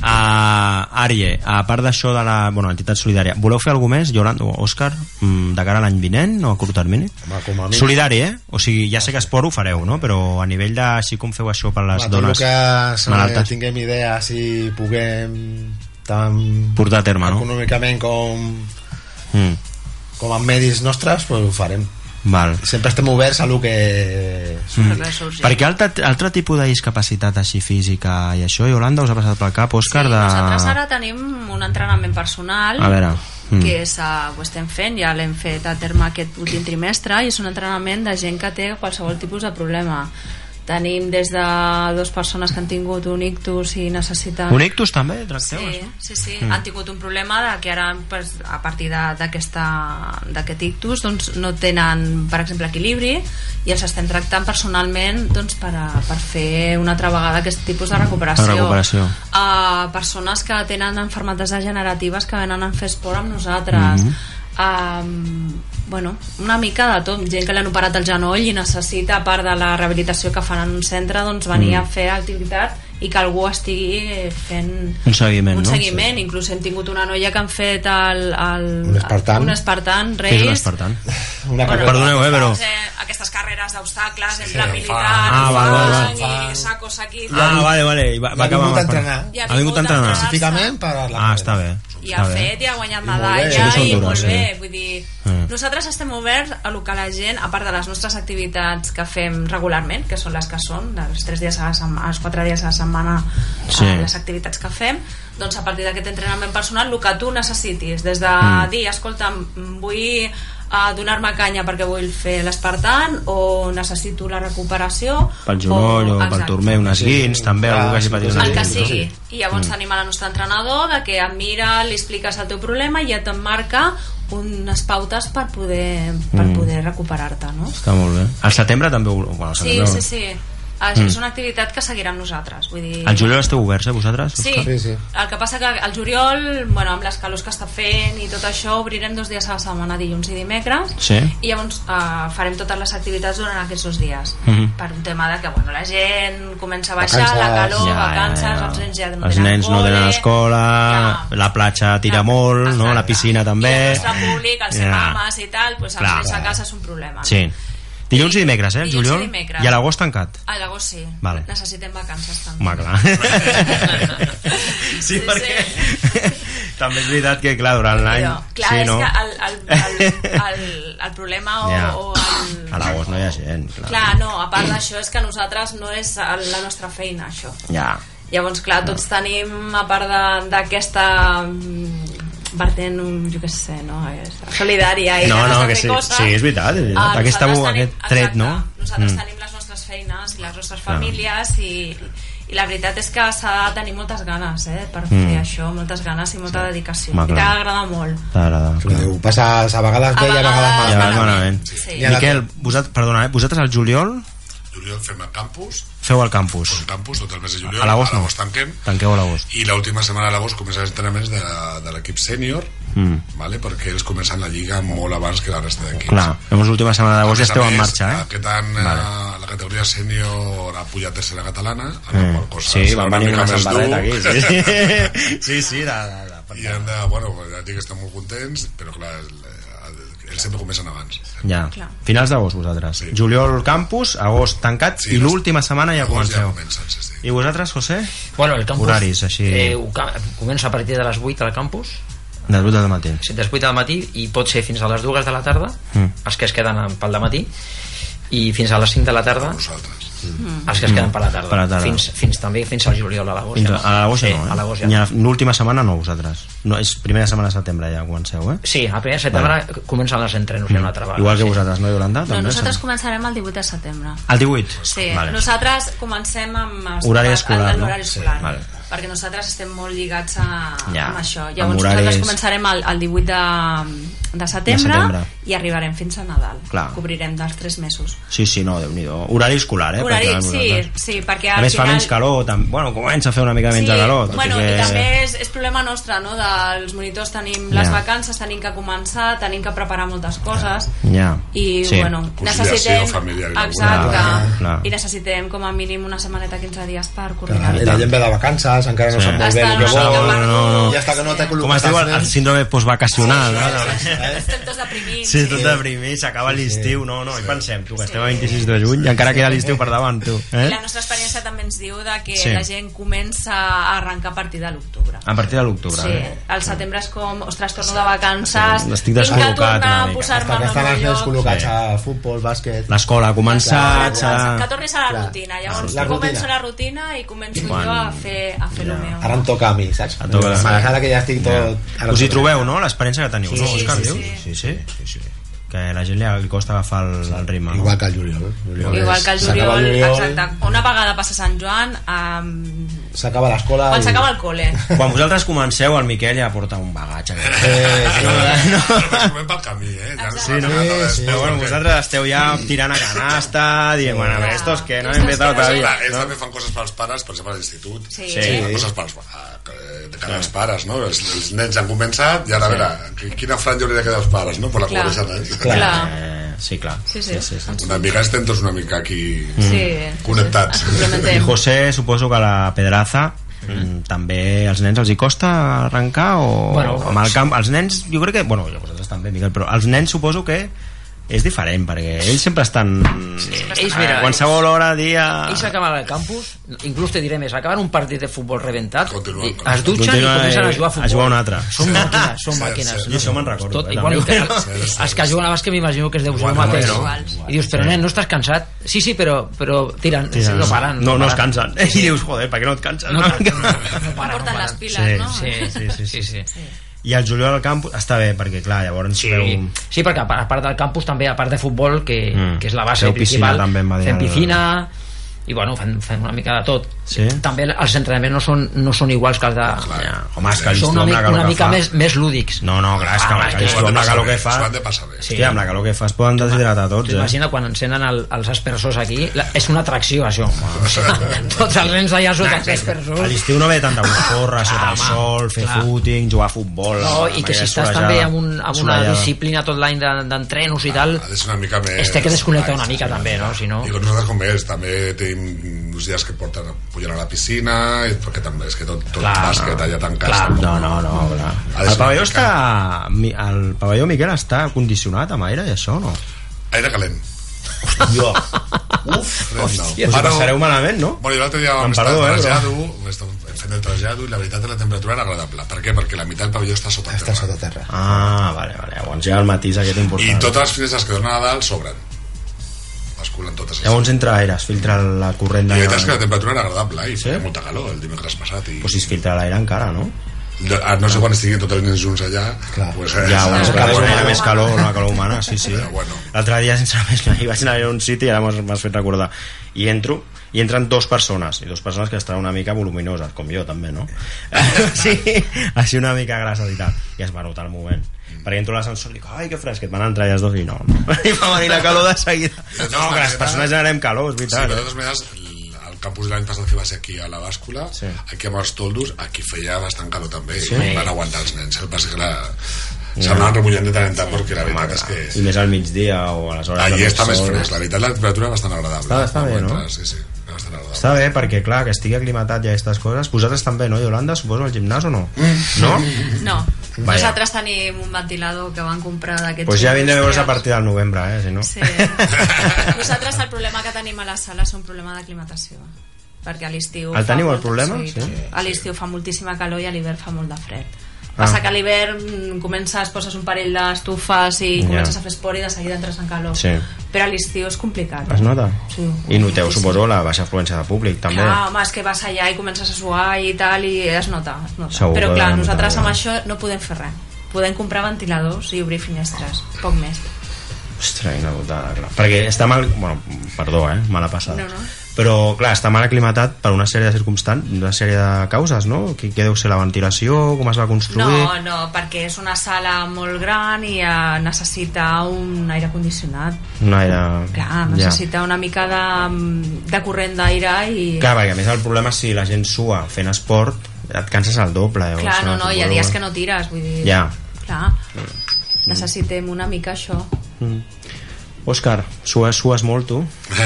S2: Uh, Arie, a part d'això de la bueno, entitat solidària, voleu fer alguna més, Yolanda o Òscar, mm, de cara a l'any vinent o a curt termini?
S4: Home, com a mínim-
S2: Solidari, eh? O sigui, ja sé que esport ho fareu, no? Però a nivell de... Així com feu això per les
S4: Home, tot
S2: dones
S4: el que se-
S2: malaltes,
S4: tinguem idea si puguem tant
S2: portar a terme, no?
S4: econòmicament com,
S2: Mm,
S4: com amb medis nostres, pues ho farem.
S2: val.
S4: Sempre estem oberts a lo que...
S2: Mm. Perquè altre, altre tipus de discapacitat així física i això, Yolanda, us ha passat pel cap, Òscar, de...
S5: Nosaltres ara tenim un entrenament personal
S2: Ah. A veure... mm.
S5: que és, uh, ho estem fent, ja l'hem fet a terme aquest últim trimestre i és un entrenament de gent que té qualsevol tipus de problema. Tenim des de dues persones que han tingut un ictus i necessiten...
S2: Un ictus també, tracteu?
S5: Sí,
S2: això?
S5: sí, sí.
S2: Mm.
S5: Mm. Han tingut un problema de que ara pues, a partir de- d'aquesta- d'aquest ictus doncs, no tenen, per exemple, equilibri i els estem tractant personalment doncs, per, a, per fer una altra vegada aquest tipus de recuperació.
S2: La recuperació.
S5: A persones que tenen enfermetes degeneratives que venen a fer esport amb nosaltres. Mm
S2: Mhm.
S5: bueno, una mica de tot. Gent que l'han operat el genoll i necessita, a part de la rehabilitació que fan en un centre, doncs venir
S2: Mm.
S5: a fer activitat i que algú estigui fent
S2: Un seguiment,
S5: un
S2: no?
S5: seguiment, inclús hem tingut una noia que han fet el, el,
S2: Un espartan.
S5: un espartan
S2: Què és un
S5: race
S2: espartan?
S4: Una
S2: carrera. Perdoneu, eh, però...
S5: Fas, eh, aquestes carreres d'obstacles sí, entre
S2: sí,
S5: militar,
S2: Ah,
S5: i
S2: val, val,
S5: fang
S2: val.
S5: i sacos aquí
S2: Ah, vale, vale. I va, va
S4: ha
S2: acabar
S4: vingut a
S2: amb el-
S4: entrenar.
S5: I
S2: Ha
S5: ha
S2: vingut a
S5: vingut a
S2: entrenar.
S5: Específicament
S4: per la
S2: Ah, està bé.
S5: i ha
S2: Està bé.
S5: fet i ha guanyat
S2: molt bé.
S5: medalla
S2: Sí que són
S5: i,
S2: duros,
S5: molt bé,
S2: eh?
S5: vull dir
S2: Mm.
S5: nosaltres estem oberts a lo que la gent a part de les nostres activitats que fem regularment, que són les que són els 3 dies a la setmana, els 4 dies a la setmana
S12: Sí.
S5: sí. les activitats que fem doncs a partir d'aquest entrenament personal el que tu necessitis, des de
S12: Mm.
S5: dir escolta, mm, vull a donar-me canya perquè vull fer l'espartan o necessito la recuperació
S2: Pel genoll o pel
S5: Exacte.
S2: turmell, unes guins, també, algú que hagi patit unes
S5: Ah, el que
S2: guins, no?
S5: sigui. I llavors
S2: Mm.
S5: tenim a la nostra entrenador de que et mira, li expliques el teu problema i ja te'n marca unes pautes per poder, per
S2: Mm.
S5: poder recuperar-te, no?
S2: Està molt bé. Al setembre també... ho- Bueno, al
S5: Sí,
S2: setembre...
S5: sí, sí. Això
S2: Mm.
S5: és una activitat que seguirà amb nosaltres. Vull dir,
S2: Al juliol esteu oberts, eh, vosaltres?
S5: Sí, el que passa que al juliol, bueno, amb les calors que està fent i tot això, obrirem dos dies a la setmana, dilluns i dimecres,
S2: Sí.
S5: i llavors eh, farem totes les activitats durant aquests dos dies,
S2: Mhm.
S5: per un tema de que bueno, la gent comença a baixar, la
S2: Vacances.
S5: calor,
S2: Ja, ja,
S5: vacances,
S2: ja.
S5: els nens ja no
S2: Els
S5: tenen
S2: nens no
S5: col·le,
S2: tenen escola, la platja tira molt, no? la piscina
S5: el
S2: també...
S5: nostre públic, els
S2: Eh, Ja.
S5: yeah. mames i tal, doncs els
S2: Clar.
S5: nens a casa és un problema.
S2: Sí. Dilluns i dimecres, eh? el
S5: Dilluns i
S2: juliol.
S5: dimecres. Ah,
S2: I a l'agost tancat.
S5: A l'agost sí.
S2: Vale.
S5: Necessitem vacances també.
S2: Home, clar. sí,
S5: Sí,
S2: perquè... També és veritat que, clar, durant l'any...
S5: Però, clar,
S2: sí,
S5: és
S2: no?
S5: que el, el, el, el, el problema o,
S2: Ja.
S5: o el,
S2: A l'agost no hi ha gent, clar.
S5: Clar, no, a part d'això és que nosaltres no és el- la nostra feina, això.
S2: Ja.
S5: Llavors, clar, tots tenim, a part de- d'aquesta mm, vertent, mm, jo què sé, no? És solidària i
S2: no, no,
S5: la nostra
S2: que
S5: fer
S2: sí,
S5: coses.
S2: sí, és veritat, és veritat.
S5: Ah,
S2: Aquesta,
S5: nosaltres tenim-
S2: aquest tret, no?
S5: Nosaltres
S2: Mm.
S5: tenim les nostres feines i les nostres
S2: Clar.
S5: famílies i, i la veritat és que s'ha de tenir moltes ganes eh, per fer
S4: Mm.
S5: això, moltes ganes i molta dedicació.
S4: Home,
S5: I t'ha
S4: clar.
S5: d'agradar molt.
S2: T'agrada.
S4: Ho passes a vegades bé i a vegades
S2: Ja,
S4: malament.
S2: malament.
S5: Sí.
S2: Miquel, vosat, perdona, eh? vosaltres al juliol
S6: Juliol fem el campus,
S2: feu al campus.
S6: el campus tot el mes de juliol,
S2: A l'agost no.
S6: tanquem,
S2: Tanqueu a l'agost.
S6: i l'última setmana de l'agost comencen els entrenaments de, de l'equip sènior,
S2: Mm.
S6: vale? perquè ells comencen la lliga molt abans que la resta d'equips.
S2: Clar, Ah, llavors l'última setmana d'agost ja
S6: A més a
S2: esteu en
S6: més,
S2: marxa, eh?
S6: Aquest any
S2: Vale.
S6: eh, la categoria sènior ha pujat tercera catalana,
S2: Mm. Sí,
S6: serà
S2: van
S6: una
S2: venir
S6: mica
S2: una
S6: més
S2: sandaleta aquí.
S6: dur.
S2: Sí, sí, sí la, la, la
S6: I hem de, bueno, ja et dic que estem molt contents, però clar, el- el- ells sempre comencen abans.
S2: Ja, finals d'agost vosaltres. Sí. Juliol campus, agost tancat sí, i l'última setmana ja
S6: Agost ja
S2: comenceu.
S6: comencen, sí, sí.
S2: I vosaltres, José?
S3: Bueno, el campus...
S2: Horaris, així.
S3: Eh, ho ca- comença a partir de les 8 al campus,
S2: De l'últim del matí.
S3: sí, de les 8 del matí, i pot ser fins a les 2 de la tarda,
S2: Mm.
S3: els que es queden pel matí i fins a les 5 de la tarda
S2: Mm.
S3: els que es queden per la tarda,
S2: Per la tarda.
S3: Fins, fins també fins al juliol a l'agost
S2: Fins a,
S3: ja.
S2: a l'agost ja
S3: sí,
S2: no, eh?
S3: a l'agost ja.
S2: Ni a L'última setmana no, vosaltres. No, és primera setmana de setembre ja comenceu, eh?
S3: sí, a primer de setembre comencen els entrenos ja una altra vegada
S2: Igual que vosaltres, no, Iolanda?
S5: No,
S2: També
S5: Doncs nosaltres començarem el 18 de setembre.
S2: El 18?
S5: Sí,
S2: Vale.
S5: nosaltres comencem amb els-
S2: Horari
S5: amb-
S2: escolar,
S5: amb
S2: no?
S5: l'horari escolar.
S2: Sí, vale.
S5: perquè nosaltres estem molt lligats a,
S2: Ja,
S5: amb això.
S2: amb
S5: Llavors
S2: horaris-
S5: nosaltres començarem el, el 18 de, de, setembre,
S2: De setembre.
S5: i arribarem fins a Nadal.
S2: Clar.
S5: Cobrirem dels 3 mesos.
S2: Sí, sí, no, déu nhi Horari escolar, eh?
S5: Horari,
S2: Perquè,
S5: sí,
S2: vosaltres-
S5: sí, perquè
S2: A
S5: al
S2: més fa
S5: final...
S2: menys calor, tam... bueno, comença a fer una mica menys de calor. tot i
S5: bueno,
S2: que...
S5: i també és, és problema nostre, no? Dels monitors tenim les
S2: Ja.
S5: vacances, tenim que començar, tenim que preparar moltes coses.
S2: Ja.
S5: i
S2: sí.
S5: bueno, necessitem exacte,
S4: Clar, clar.
S5: i necessitem com a mínim una setmaneta 15 dies per
S4: Ah,
S5: coordinar
S4: I la gent ve de vacances, encara no
S2: Sí.
S4: sap molt bé el que
S2: Està
S4: vol.
S2: una mica perdut.
S4: I hasta que no t'ha
S2: Com es
S4: col·locat
S2: diu
S4: els
S2: el, el
S4: nens.
S2: síndrome postvacacional, eh, no?
S5: estem tots deprimits
S2: Sí, tot deprimit, s'acaba l'estiu, no, no, i pensem, tu, que estem a 26 de juny i encara queda l'estiu per davant, tu.
S5: I
S2: Eh?
S5: la nostra experiència també ens diu de que
S2: Sí.
S5: la gent comença a arrencar a partir de l'octubre.
S2: A partir de l'octubre.
S5: Sí,
S2: eh?
S5: el setembre és com, ostres, torno de vacances,
S2: Sí, estic
S5: tinc que
S2: descol·locat
S5: tornar
S2: una
S5: a
S2: mica.
S5: posar-me
S4: Hasta que
S5: en el
S4: estan
S5: meu
S4: els nens
S5: lloc.
S4: col·locats
S2: Sí.
S4: a futbol, bàsquet...
S2: L'escola ha començat,
S5: Que, que
S2: s'ha...
S5: tornis a la rutina, llavors
S4: La rutina.
S5: tu començo la rutina i començo
S2: Quan-
S5: jo a fer, a fer el meu.
S4: Ara em toca a mi, saps?
S2: Et toca.
S4: M'agrada que ja estic tot... ara
S2: Us hi
S4: tot.
S2: trobeu, no?, l'experiència que teniu,
S4: Sí,
S2: no,
S4: sí,
S2: Òscar,
S4: sí,
S2: diu? Sí, sí, sí, sí. Que a la gent li li costa agafar el, el ritme.
S4: Igual que el juliol. juliol
S5: Igual
S4: és-
S5: que el
S4: s'acaba
S5: juliol, exacte. Una vegada passa Sant Joan, um,
S4: S'acaba l'escola...
S5: quan
S4: i-
S5: s'acaba el col·le.
S2: Quan vosaltres comenceu, el Miquel ja porta un bagatge.
S4: Eh, sí.
S2: No,
S6: Comencem pel camí, eh? Ja
S2: Sí, no?
S6: Sí,
S2: Però bueno, vosaltres esteu ja tirant a canasta, dient, bueno, a ver, estos que no he empezado todavía.
S6: Clar, ells
S2: no?
S6: també fan coses pels pares, per exemple, a l'institut.
S5: Sí.
S2: Sí.
S6: Fan coses pels, a- eh, de cara als pares, no? Els, els nens han començat i ara, a veure, qui- quina franja hauria de quedar als pares, no? Per la
S5: Clar.
S6: pobresa d'ells.
S5: Clar. Clar.
S2: Eh, sí, clar.
S5: Sí, sí.
S6: Una mica estem tots una mica aquí connectats.
S2: Mm. I José, suposo que la pedraza mm, també als nens els hi costa arrencar o
S3: Bueno,
S2: amb el camp els nens jo crec que, bueno, jo vosaltres també Miquel, però els nens suposo que és diferent perquè ells sempre estan
S3: ells,
S2: a
S3: mira,
S2: qualsevol hora, dia
S3: ells acaben al campus inclús te diré més, acaben un partit de futbol rebentat i es dutxen
S2: Continua,
S3: i comencen a
S2: eh,
S3: jugar a futbol
S2: a jugar a un altre.
S3: són màquines, són
S2: Cert,
S3: màquines
S2: cert. Jo això me'n recordo,
S3: tot,
S2: eh,
S3: igual,
S2: també.
S3: els, els que juguen a bàsquet m'imagino que es deu ser el
S2: Igual,
S3: mateix
S2: igual,
S3: i dius, però nen, no estàs cansat? sí, sí, però, però tiren,
S2: Tiren.
S3: no paren
S2: no, no es
S3: paren.
S2: cansen i dius, joder, per què no et canses?
S3: No,
S2: Una
S3: no,
S2: mica.
S5: Porten les piles,
S2: Sí,
S5: no?
S2: sí, sí, sí, sí.
S3: sí.
S2: i el juliol al camp està bé perquè clar, llavors sí. veu...
S3: Sí, perquè a part a part del campus també, a part de futbol, que,
S2: Mm.
S3: mm. que és la base
S2: Feu piscina
S3: principal,
S2: també, em va dir
S3: fem
S2: el-
S3: piscina, i bueno, fan, fan una mica de tot sí. també els entrenaments no són, no són iguals que els de... Ja,
S2: Home, és que el Listom,
S3: són una,
S2: la
S3: mica,
S2: calor
S3: una
S2: que
S3: mica
S2: fa.
S3: més, més lúdics Ah,
S2: No, no, clar, és que amb el Listom, la calor que fa... Sí, amb la calor que fa es poden deshidratar tots, eh?
S3: Imagina quan encenen el, els aspersors aquí, la, és una atracció això. Tots els nens allà sota els
S2: A
S3: aspersors.
S2: l'estiu no ve tanta una porra, sota el sol, fer
S3: clar.
S2: footing, jugar a futbol...
S3: No,
S2: amb
S3: I que si
S2: aquella
S3: estàs
S2: sorejada-
S3: també amb, un, amb una
S2: sorellada.
S3: disciplina tot l'any de- d'entrenos i tal,
S2: Ah,
S6: és una mica més...
S3: es té que desconnectar una mica també, no? Si no...
S6: I com nosaltres com és, també tenim uns dies que porten pujar a la piscina, i perquè també és que tot, tot clar, bàsquet allà tancat.
S2: Clar, no, no, no, clar.
S6: Ha de
S2: El
S6: ser
S2: pavelló
S6: una
S2: està... mi- El pavelló, Miquel, està condicionat amb aire i això, no?
S6: Aire calent.
S2: Hòstia.
S6: Uf,
S2: Hòstia. Us ho passareu malament, no?
S6: Bueno, jo l'altre dia
S2: Em
S6: vam estar
S2: perdó, eh,
S6: al
S2: però-
S6: trasllado, eh, fent el trasllado, i la veritat la temperatura era agradable. Per què? Perquè la meitat del pavelló està sota terra. Està sota terra.
S2: Ah, vale, vale. Llavors hi ha el matís aquest important.
S6: I totes les finestres que donen a dalt s'obren. Es culen totes.
S2: Llavors entra aire, es filtra la corrent
S6: La
S2: d'aire.
S6: veritat és que la temperatura era agradable eh, i feia molta calor el dimecres passat. I...
S2: Però si es filtra l'aire encara, no?
S6: No, ah, no sé quan estiguin tots els nens junts allà Clar. Pues, eh,
S2: Ja, bueno,
S6: és
S2: és que
S6: bueno.
S2: genera més calor, una calor humana, sí, sí. L'altre dia, sincerament, hi vaig anar a un sitio i ara m'has- m'has fet recordar. I entro, i entren dos persones, i dos persones que estan una mica voluminoses, com jo també, no? sí, així una mica grasses i tal. I es va notar el moment. Perquè entro a l'ascensor i dic, ai, que fresc, et van entrar ja els dos i no. no. I va venir la calor de seguida. No, que les persones generem calor, és
S6: Sí,
S2: veritat.
S6: però de totes maneres, l- el campus de l'any passat que va ser aquí a la bàscula, sí. aquí amb els toldos, aquí feia bastant calor també,
S2: Sí.
S6: sí. i van aguantar els nens. El que passa que la... s'anaven remullant de tant en tant, perquè la veritat és que...
S2: I més al migdia o a les hores
S6: Allí
S2: de
S6: està més
S2: sol.
S6: fresc, la veritat la temperatura era bastant agradable.
S2: Està- està bé, no?
S6: Entres, Sí, sí, era bastant agradable.
S2: Està bé, perquè clar, que estigui aclimatat i aquestes coses. Vosaltres també, no, Yolanda? Suposo al gimnàs o no?
S6: Mm.
S2: No?
S5: No.
S2: Vaja.
S5: Nosaltres tenim un ventilador que van comprar d'aquests...
S2: Doncs pues ja vindré a veure's a
S5: industrials.
S2: partir del novembre, eh? Si no.
S5: Sí. Nosaltres el problema que tenim a la sala és un problema d'aclimatació perquè a l'estiu...
S2: El
S5: fa
S2: teniu, el
S5: molta-
S2: problema?
S5: Sí,
S2: Sí.
S5: sí. A l'estiu fa moltíssima calor i a l'hivern fa molt de fred.
S2: Ah.
S5: Passa que a l'hivern mm, comences, poses un parell d'estufes i
S2: Ja.
S5: comences a fer esport i de seguida entres en calor.
S2: Sí.
S5: Però a l'estiu és complicat.
S2: Es nota?
S5: Sí.
S2: I noteu, suposo, la baixa afluència de públic, també.
S5: Clar, home, és que vas allà i comences a suar i tal, i es nota, es nota.
S2: Segur
S5: Però
S2: que
S5: clar,
S2: deu notar,
S5: nosaltres amb
S2: eh?
S5: això no podem fer res. Podem comprar ventiladors i obrir finestres, poc més.
S2: Ostres, una putada, clar. Perquè està mal... Bueno, perdó, eh? Mala passada.
S5: No, no.
S2: Però, clar, està mal aclimatat per una sèrie de circumstàncies, una sèrie de causes, no? Què, què deu ser la ventilació, com es va construir...
S5: No, no, perquè és una sala molt gran i eh, necessita un aire condicionat.
S2: Un aire...
S5: Clar, necessita una mica de, de corrent d'aire i...
S2: Ja. Clar, perquè a més el problema és si la gent sua fent esport, et canses el doble. llavors,
S5: Clar, no, no, hi ha dies que
S2: suposo
S5: no tires, vull dir...
S2: Ja.
S5: Clar, necessitem una mica això.
S2: Mm. Òscar, sues, sues molt, tu.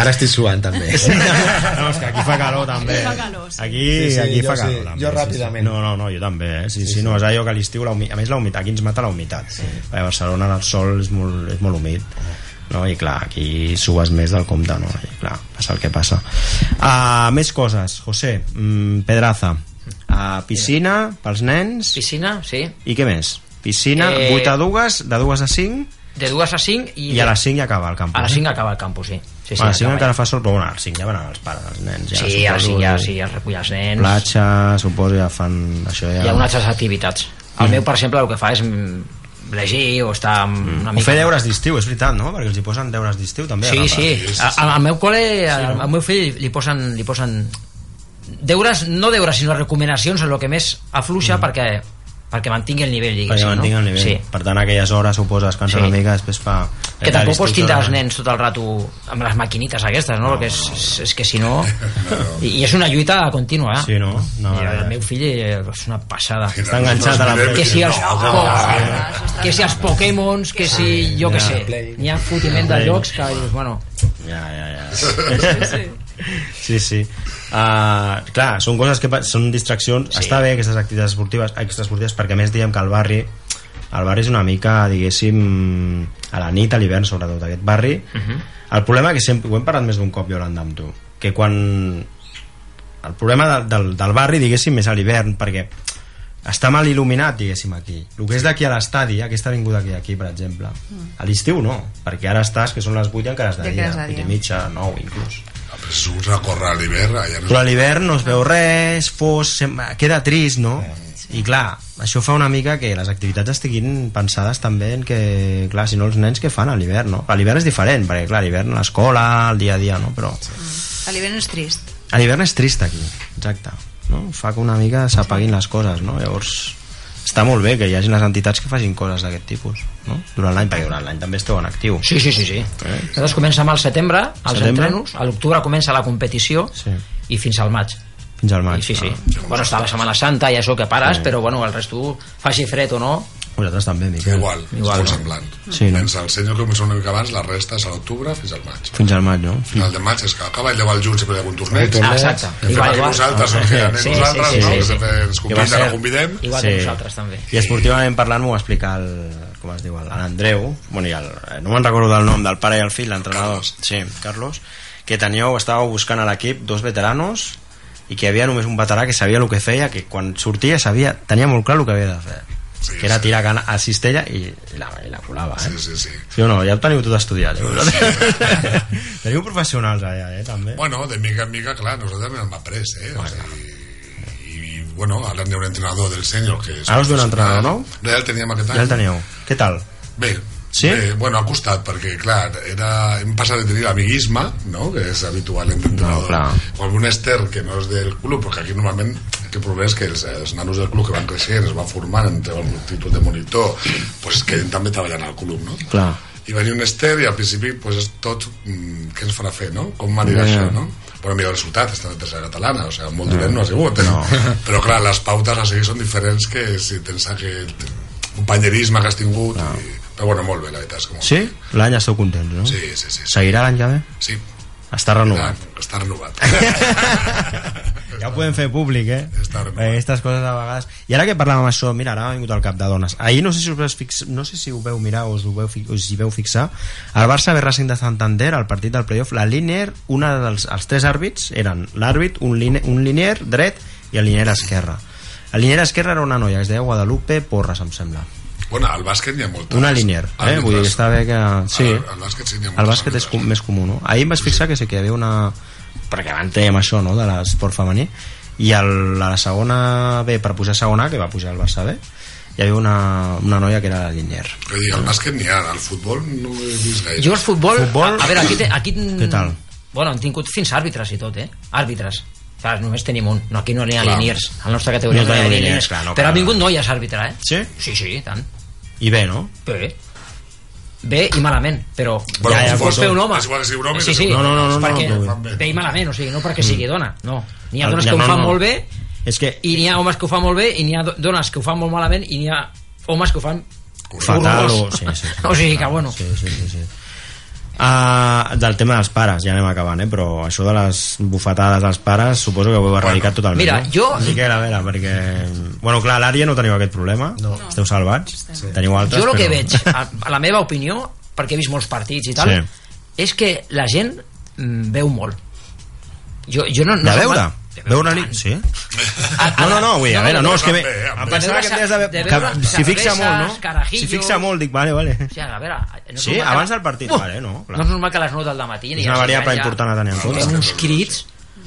S2: Ara estic suant, també. Sí, no, és que aquí fa calor, també.
S12: Aquí fa calor, sí.
S2: Aquí,
S12: Sí, sí,
S2: aquí
S12: jo
S2: fa
S12: sí,
S2: calor, també.
S12: jo
S2: sí,
S12: ràpidament.
S2: Sí, No, no, no, jo també, eh? Sí, sí, sí, no, és allò que a l'estiu, la humi- a més la humitat, aquí ens mata la humitat. Sí. A Barcelona el sol és molt, és molt humit. No? I clar, aquí subes més del compte, no? I clar, passa el que passa. Uh, més coses, José, mm, Pedraza, uh, piscina pels nens...
S3: Piscina, sí.
S2: I què més? Piscina,
S3: Eh,
S2: eh... 8 a 2, de 2 a 5...
S3: De dues a cinc i...
S2: I a les 5 ja acaba el campus.
S3: A les 5
S2: eh?
S3: acaba el campus, sí. sí, sí
S2: a les 5
S3: acaba
S2: encara fa sol, però bueno, a les 5 ja van anar els pares, els nens. Ja,
S3: Sí, a les
S2: suposo,
S3: 5 ja,
S2: i
S3: sí, ja es recull els nens.
S2: Platja, suposo, ja fan això ja...
S3: Hi ha unes altres activitats. El
S2: Mm.
S3: meu, per exemple, el que fa és mm, llegir o estar mm, una
S2: O
S3: mica...
S2: fer deures d'estiu, és veritat, no? Perquè els hi posen deures d'estiu també.
S3: Sí, sí. Al, al meu col·le, al, al meu fill, li posen, li posen deures, no deures, sinó recomanacions en el que més afluixa mm. perquè, perquè mantingui el nivell, diguéssim.
S2: Perquè mantingui el
S3: no?
S2: nivell. Eh,
S3: Sí.
S2: Per tant, aquelles hores, suposa, es cansa
S3: Sí.
S2: sí. una mica, després fa...
S3: Que tampoc pots tindre els nens tot el rato amb les maquinites aquestes, no? no, és, és, és que si no... I, I és una lluita contínua, eh?
S2: Sí, no? No,
S3: I el
S2: ja.
S3: meu fill eh, és una passada.
S2: Està enganxat a la Play.
S3: Que si els,
S2: No, no, no.
S3: que si els Pokémons, que si... Jo què sé. N'hi ha fotiment de
S2: Play.
S3: llocs que... dius, Bueno,
S2: Ja, ja, ja.
S3: Sí, sí.
S2: Sí, sí. Uh, clar, són coses que pa- són distraccions. Sí. Està bé aquestes activitats esportives, extraesportives, perquè a més diem que el barri el barri és una mica, diguéssim, a la nit, a l'hivern, sobretot, aquest barri. El problema que sempre, ho hem parlat més d'un cop, Yolanda, amb tu, que quan... El problema del, del, del barri, diguéssim, és a l'hivern, perquè està mal il·luminat, diguéssim, aquí. El que és d'aquí a l'estadi, aquesta avinguda que hi ha aquí, per exemple.
S12: Mm.
S2: A l'estiu no, perquè ara estàs, que són les 8 i encara és de
S6: Ja
S2: dia,
S6: quedes de
S2: 8
S6: dia.
S2: i mitja, 9 inclús.
S6: Però si surts a córrer a l'hivern, allà no
S2: Però a l'hivern no es veu res, fos, sembla, queda trist, no? I clar, això fa una mica que les activitats estiguin pensades també en que, clar, si no els nens què fan a l'hivern, no? A l'hivern és diferent, perquè clar, a l'hivern a l'escola, el dia a dia, no? Però
S5: A l'hivern és trist.
S2: a l'hivern és trist aquí, exacte. No? Fa que una mica s'apaguin les coses, no? Llavors, està molt bé que hi hagi les entitats que facin coses d'aquest tipus, no? Durant l'any, perquè durant l'any també esteu en actiu.
S3: Sí, sí, sí, sí.
S2: Eh?
S3: Nosaltres comencem al setembre, als
S2: Setembre.
S3: entrenos, a l'octubre comença la competició
S2: sí.
S3: i fins al maig.
S2: Fins al maig.
S3: I sí, sí. Bueno, està la Setmana Santa i això que pares,
S2: Sí.
S3: però bueno, el resto, faci fred o no...
S2: Vosaltres també, Miquel.
S6: Igual, Igual molt semblant.
S2: Sí, no?
S6: Fins al senyor que comença una mica abans, la resta és a l'octubre fins al maig.
S2: Fins al maig, no?
S6: Final de maig és que acaba allà al juny sempre hi ha algun torneig.
S2: Ah, exacte.
S6: Que fem
S2: Igual, eh?
S6: aquí
S2: igual.
S6: nosaltres, no?
S2: Sí,
S6: Que anem
S2: sí,
S6: nosaltres,
S2: sí, sí, sí,
S6: no? Que
S2: sí.
S6: sempre ens
S2: Que va
S6: conviden,
S2: ser-
S6: la convidem.
S2: I esportivament parlant m'ho va explicar el, com es diu, l'Andreu, bueno, i el, eh, no me'n recordo del nom, del pare i el fill, l'entrenador, sí, Carlos, que teníeu, estàveu buscant a l'equip dos veteranos i que hi havia només un veterà que sabia el que feia, que quan sortia sabia, tenia molt clar el que havia de fer. Sí, que era tirar cana a cistella i, i, la, i la colava, eh?
S6: Sí, sí, sí.
S2: Sí o no? Ja ho teniu tot estudiat. Eh? teniu professionals allà, eh? També.
S6: Bueno, de mica en mica, clar, nosaltres n'hem après, eh? O sigui, i, bueno, ara n'hi ha un entrenador del sènior que... és
S2: Ara us ve un entrenador nou?
S6: No, ja el teníem aquest any.
S2: Ja el teníeu. Què tal?
S6: Bé, sí? bé, bueno, ha costat, perquè, clar, era, hem passat de tenir l'amiguisme, no?, que és habitual entre entrenadors, no, o algun ester que no és del club, perquè aquí normalment el que problema és que els, els nanos del club que van creixent, es van formant entre algun tipus de monitor, pues es queden també treballant al club, no?
S2: Clar.
S6: I venia un ester i al principi pues, és tot mm, què ens farà fer, no? Com anirà
S2: Ja, ja.
S6: yeah. això, no? Bueno, mira el resultat, està en tercera catalana, o sigui, molt dolent
S2: No.
S6: no ha sigut, eh?
S2: No.
S6: Però clar, les pautes a seguir són diferents que si tens aquest companyerisme que has tingut. No. I... Però bueno, molt bé, la veritat és que molt
S2: Sí? L'any esteu contents, no?
S6: Sí, sí, sí, sí.
S2: Seguirà l'any ja bé?
S6: Sí.
S2: Està renovat.
S6: Clar, està renovat.
S2: Ja ho podem fer públic, eh? Perquè Aquestes coses a vegades... I ara que parlàvem això, mira, ara m'ha vingut al cap de dones. Ahir no sé si us veu, fix... no sé si ho veu mirar o, us ho veu fi... o si veu fixar. El Barça ve Racing de Santander, al partit del playoff, la Liner, una dels els tres àrbits eren l'àrbit, un, line... un linier dret i el linier esquerre. El linier esquerre era una noia que es deia Guadalupe Porras, em sembla.
S6: bueno, al bàsquet n'hi ha moltes.
S2: Una linier,
S6: Ah,
S2: eh? Vull dir,
S6: moltes.
S2: que està bé que... Sí.
S6: Al, al bàsquet sí n'hi ha moltes.
S2: El bàsquet és com, més comú, no? Ahir em vaig fixar que sí que hi havia una... Perquè abans dèiem això, no?, de l'esport femení. I el, a la segona B, per pujar a segona A, que va pujar el Barça B, hi havia una, una noia que era la Linier.
S6: Vull dir, al bàsquet n'hi ha, al futbol no ho he vist gaire.
S3: Jo el futbol...
S2: Futbol- eh,
S3: A, a veure, aquí... Te, aquí
S2: Què tal?
S3: Bueno, hem tingut fins àrbitres i tot, eh? Àrbitres. Clar, només tenim un. No, aquí no n'hi ha
S2: Clar.
S3: liniers. A la nostra categoria
S2: No
S3: no,
S2: tenim
S3: hi ha
S2: liniers,
S3: liniers.
S2: clar, no,
S3: però
S2: clar.
S3: ha vingut noies àrbitre, eh?
S2: Sí?
S3: Sí, sí, i tant.
S2: I bé, no?
S3: Bé. Bé i malament, però...
S2: Bueno,
S3: ja, ja,
S2: com
S3: vols
S2: fos,
S3: fer un home.
S6: és igual que sigui un home
S3: Sí,
S6: que
S3: sí.
S6: sigui una
S2: No, no, no,
S3: és
S2: no,
S3: perquè
S2: no, no.
S3: bé i malament, o sigui, no perquè sigui dona, no. N'hi ha
S2: El-
S3: dones
S2: ja,
S3: que ho
S2: no,
S3: fan
S2: no.
S3: molt bé
S2: És que...
S3: i n'hi ha homes que ho fan molt bé i n'hi ha do- dones que ho fan molt malament i n'hi ha homes que ho fan
S2: Fatal o...
S3: horrorós.
S2: Sí, sí, sí.
S3: o sigui que, bueno...
S2: Sí, sí, sí, sí. Uh, del tema dels pares, ja anem acabant, eh? però això de les bufetades dels pares suposo que ho heu erradicat bueno, totalment.
S3: mira,
S2: no?
S3: jo-
S2: Miquel, a veure, perquè... Bueno, clar, a l'àrea no teniu aquest problema, no. esteu salvats, sí. teniu altres...
S3: jo el que
S2: però...
S3: veig, a, a la meva opinió, perquè he vist molts partits i tal,
S2: Sí.
S3: sí. és que la gent mm, veu molt. Jo, jo no, no
S2: De veure?
S3: soc-
S2: Veure-li? Sí? No, no, no, avui, a veure, no, és que... Ve... Em pensava que em deies de veure... que S'hi fixa molt, no? S'hi fixa molt, dic, vale, vale.
S3: O sigui, a veure... No és
S2: Sí,
S3: normal que
S2: abans
S3: la-
S2: del partit,
S3: Uf,
S2: vale, no, clar.
S3: No és normal que a les 9 del matí...
S2: És una variable important a tenir en compte.
S3: Fem uns crits,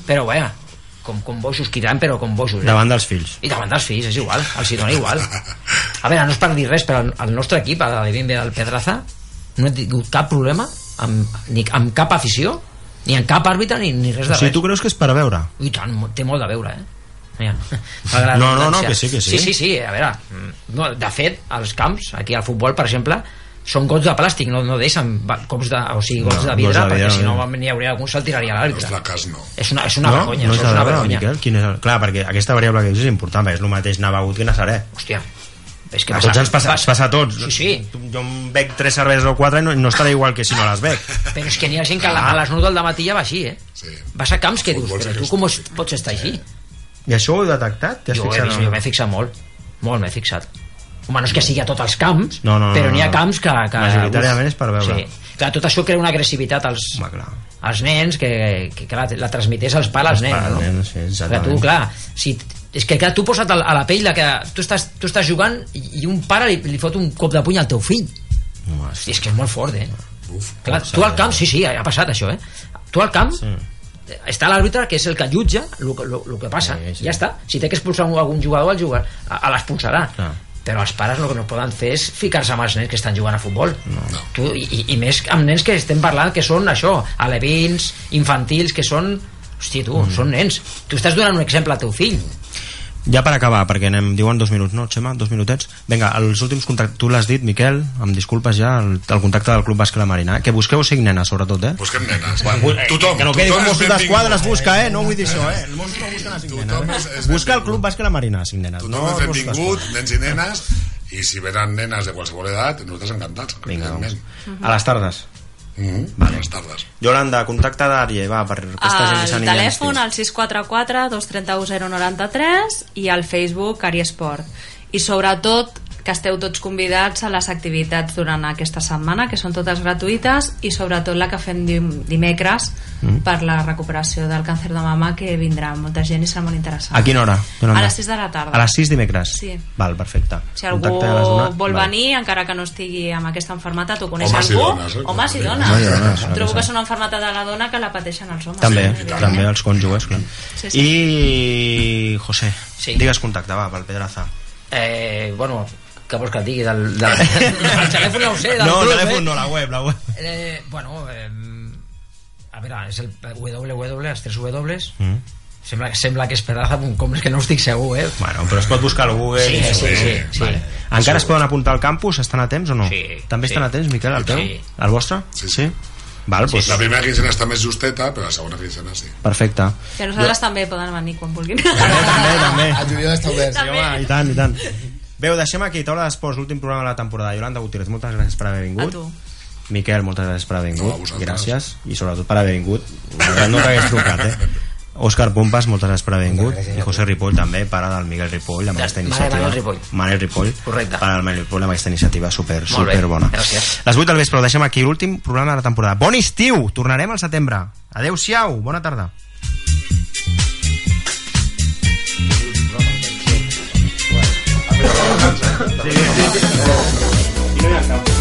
S3: però vaja, com, com bojos cridant, però com bojos. eh?
S2: Davant dels fills.
S3: I davant dels fills, és igual, els hi dona igual. A veure, no és per dir res, però el- el nostre equip, el de Benve del Pedraza, no he tingut cap problema amb, ni amb cap afició, ni amb cap àrbitre, ni, ni res
S2: O
S3: de
S2: sigui,
S3: res.
S2: tu creus que és per a veure?
S3: I tant, mo- té molt de veure, eh? Mira,
S2: No, no, no,
S3: redundància.
S2: que sí, que sí.
S3: Sí, sí, sí, a veure, mm, no, de fet, els camps, aquí al futbol, per exemple, són gots de plàstic, no, no deixen va- cops de, o sigui, gots
S2: No,
S3: de vidre,
S2: gots de vidre,
S3: perquè si no
S2: no.
S3: n'hi hauria algun se'l tiraria a l'àrbitre.
S6: La cas no.
S3: És una, és una
S2: no?
S3: vergonya,
S2: no
S3: això és
S2: de
S3: una
S2: veure,
S3: vergonya.
S2: Miquel, quin és el... Clar, perquè aquesta variable que dius és important, perquè és el mateix anar begut que anar serè.
S3: Hòstia, és que
S2: a
S3: passa-
S2: tots ens passa, ens passa a tots.
S3: Sí, sí.
S2: Tu- Jo em bec tres cerveses o quatre i no, no estaré igual que si no les bec.
S3: Però és que n'hi ha gent que a la- a les 9 del matí ja va així, eh?
S6: Sí.
S3: Vas a camps que dius,
S2: Futbol
S3: però
S2: sí
S3: tu
S2: que
S3: com es- pots estar així?
S2: I això ho heu detectat? T'hi has
S3: Jo, he
S2: fixat
S3: vist,
S2: o no?
S3: jo m'he fixat molt, molt m'he fixat. Home, no és que sigui a tots els camps,
S2: No, no, no,
S3: però n'hi ha
S2: no.
S3: camps que... que
S2: Majoritàriament és per veure.
S3: Sí. Clar, tot això crea una agressivitat als,
S2: Home, clar.
S3: als nens que, que clar, la transmités als pares, als nens,
S2: Pares,
S3: no?
S2: nens, sí,
S3: Clar,
S2: exactament.
S3: tu, clar, si, és que clar, tu posa't al- a la pell de que tu estàs, tu estàs jugant i i un pare li, li fot un cop de puny al teu fill. Hosti, és que és molt fort, eh? Uf, clar, tu al camp, sí, sí, ha passat això, eh? Tu al camp sí. està l'àrbitre que és el que jutja el que, lo, lo que passa, sí, sí. ja està si té que expulsar un- algun jugador, el jugador a, a l'expulsarà ah. però els pares el que no poden fer és ficar-se amb els nens que estan jugant a futbol no. tu, i, i- i més amb nens que estem parlant que són això, alevins, infantils que són, hòstia tu, mm. són nens tu estàs donant un exemple al teu fill
S2: Ja per acabar, perquè anem, diuen dos minuts, no, Xema? Dos minutets? Vinga, els últims contactes, tu l'has dit, Miquel, amb disculpes ja, el, el contacte del Club Bàsquet La Marina, eh? que busqueu cinc nenes, sobretot, eh?
S6: Busquem nenes.
S2: tothom, que no quedi com
S6: tothom és
S2: Mossos d'Esquadra es
S6: benvingut.
S2: busca, eh? No vull dir això, eh? Els Mossos no busquen a cinc nenes. eh? Busca el Club Bàsquet La Marina, cinc nenes.
S6: Tothom
S2: no
S6: és
S2: els Mossos
S6: benvingut, nens i nenes, i si venen nenes de qualsevol edat, nosaltres encantats. Vinga,
S2: d'Esquadra. A les tardes.
S6: Mm -hmm. vale. A les tardes.
S2: Yolanda, contacte d'Àrie, va, per aquesta gent que
S5: El
S2: s'anirà.
S5: telèfon al 644 231 093 i al Facebook Ariesport. I sobretot que esteu tots convidats a les activitats durant aquesta setmana, que són totes gratuïtes, i sobretot la que fem dim- dimecres
S2: Mm.
S5: per la recuperació del càncer de mama, que vindrà molta gent i serà molt interessant.
S2: A quina hora? Yolanda?
S5: A les 6 de la tarda.
S2: A les 6 dimecres?
S5: Sí.
S2: Val, perfecte.
S5: Si algú
S2: Contacte a les una.
S5: vol
S2: Val.
S5: venir, encara que no estigui amb aquesta enfermetat, o coneix
S2: Homes i
S5: algú,
S2: dones, eh?
S5: homes i dones.
S2: Homes i dones, clar que
S5: Trobo que
S2: sí.
S5: és una enfermetat de la dona que la pateixen eh? els homes.
S2: També,
S5: Sí,
S2: també els cònjuges, clar.
S5: Sí, sí.
S2: I, José,
S3: Sí.
S2: digues contacte, va, pel Pedraza.
S3: eh, bueno, què vols que et digui del, del, del telèfon no ho sé del
S2: no,
S3: club,
S2: telèfon
S3: eh?
S2: no, la web, la web.
S3: Eh, bueno, eh, a veure, és el www, les 3 W,
S2: Mm.
S3: sembla, sembla que és pedraza.com, és que no ho estic segur, eh?
S2: Bueno, però es pot buscar al Google.
S3: Sí,
S2: i- eh?
S3: sí, sí, sí.
S2: Vale. Encara es poden apuntar al campus? Estan a temps o no? Sí. També estan
S6: sí.
S2: a temps, Miquel, al teu?
S6: Sí.
S2: Al vostre? Sí. sí. Val, doncs...
S6: La primera quincena està més justeta, però la segona quincena sí.
S2: Perfecte.
S5: I a nosaltres també poden venir quan vulguin.
S2: També, també.
S4: El juliol està obert.
S2: Sí, home, i tant, i tant. Veu, deixem aquí Taula d'Esports, l'últim programa de la temporada. Yolanda Gutiérrez, moltes gràcies per haver vingut.
S5: A tu.
S2: Miquel, moltes gràcies per haver vingut. No, gràcies. I sobretot per haver vingut. No que hagués trucat, eh? Òscar Pompas, moltes gràcies per haver vingut. I José Ripoll també, pare del Miguel Ripoll, amb aquesta iniciativa.
S3: Manel Ripoll.
S2: Manel Ripoll. Correcte. Pare del Manel Ripoll, amb aquesta iniciativa super,
S3: Molt bé.
S2: super bona.
S3: Gràcies.
S2: Les 8 del vespre, ho deixem aquí, l'últim programa de la temporada. Bon estiu! Tornarem al setembre. Adeu-siau, bona tarda. Sí, sí, sí. I no hi ha cap.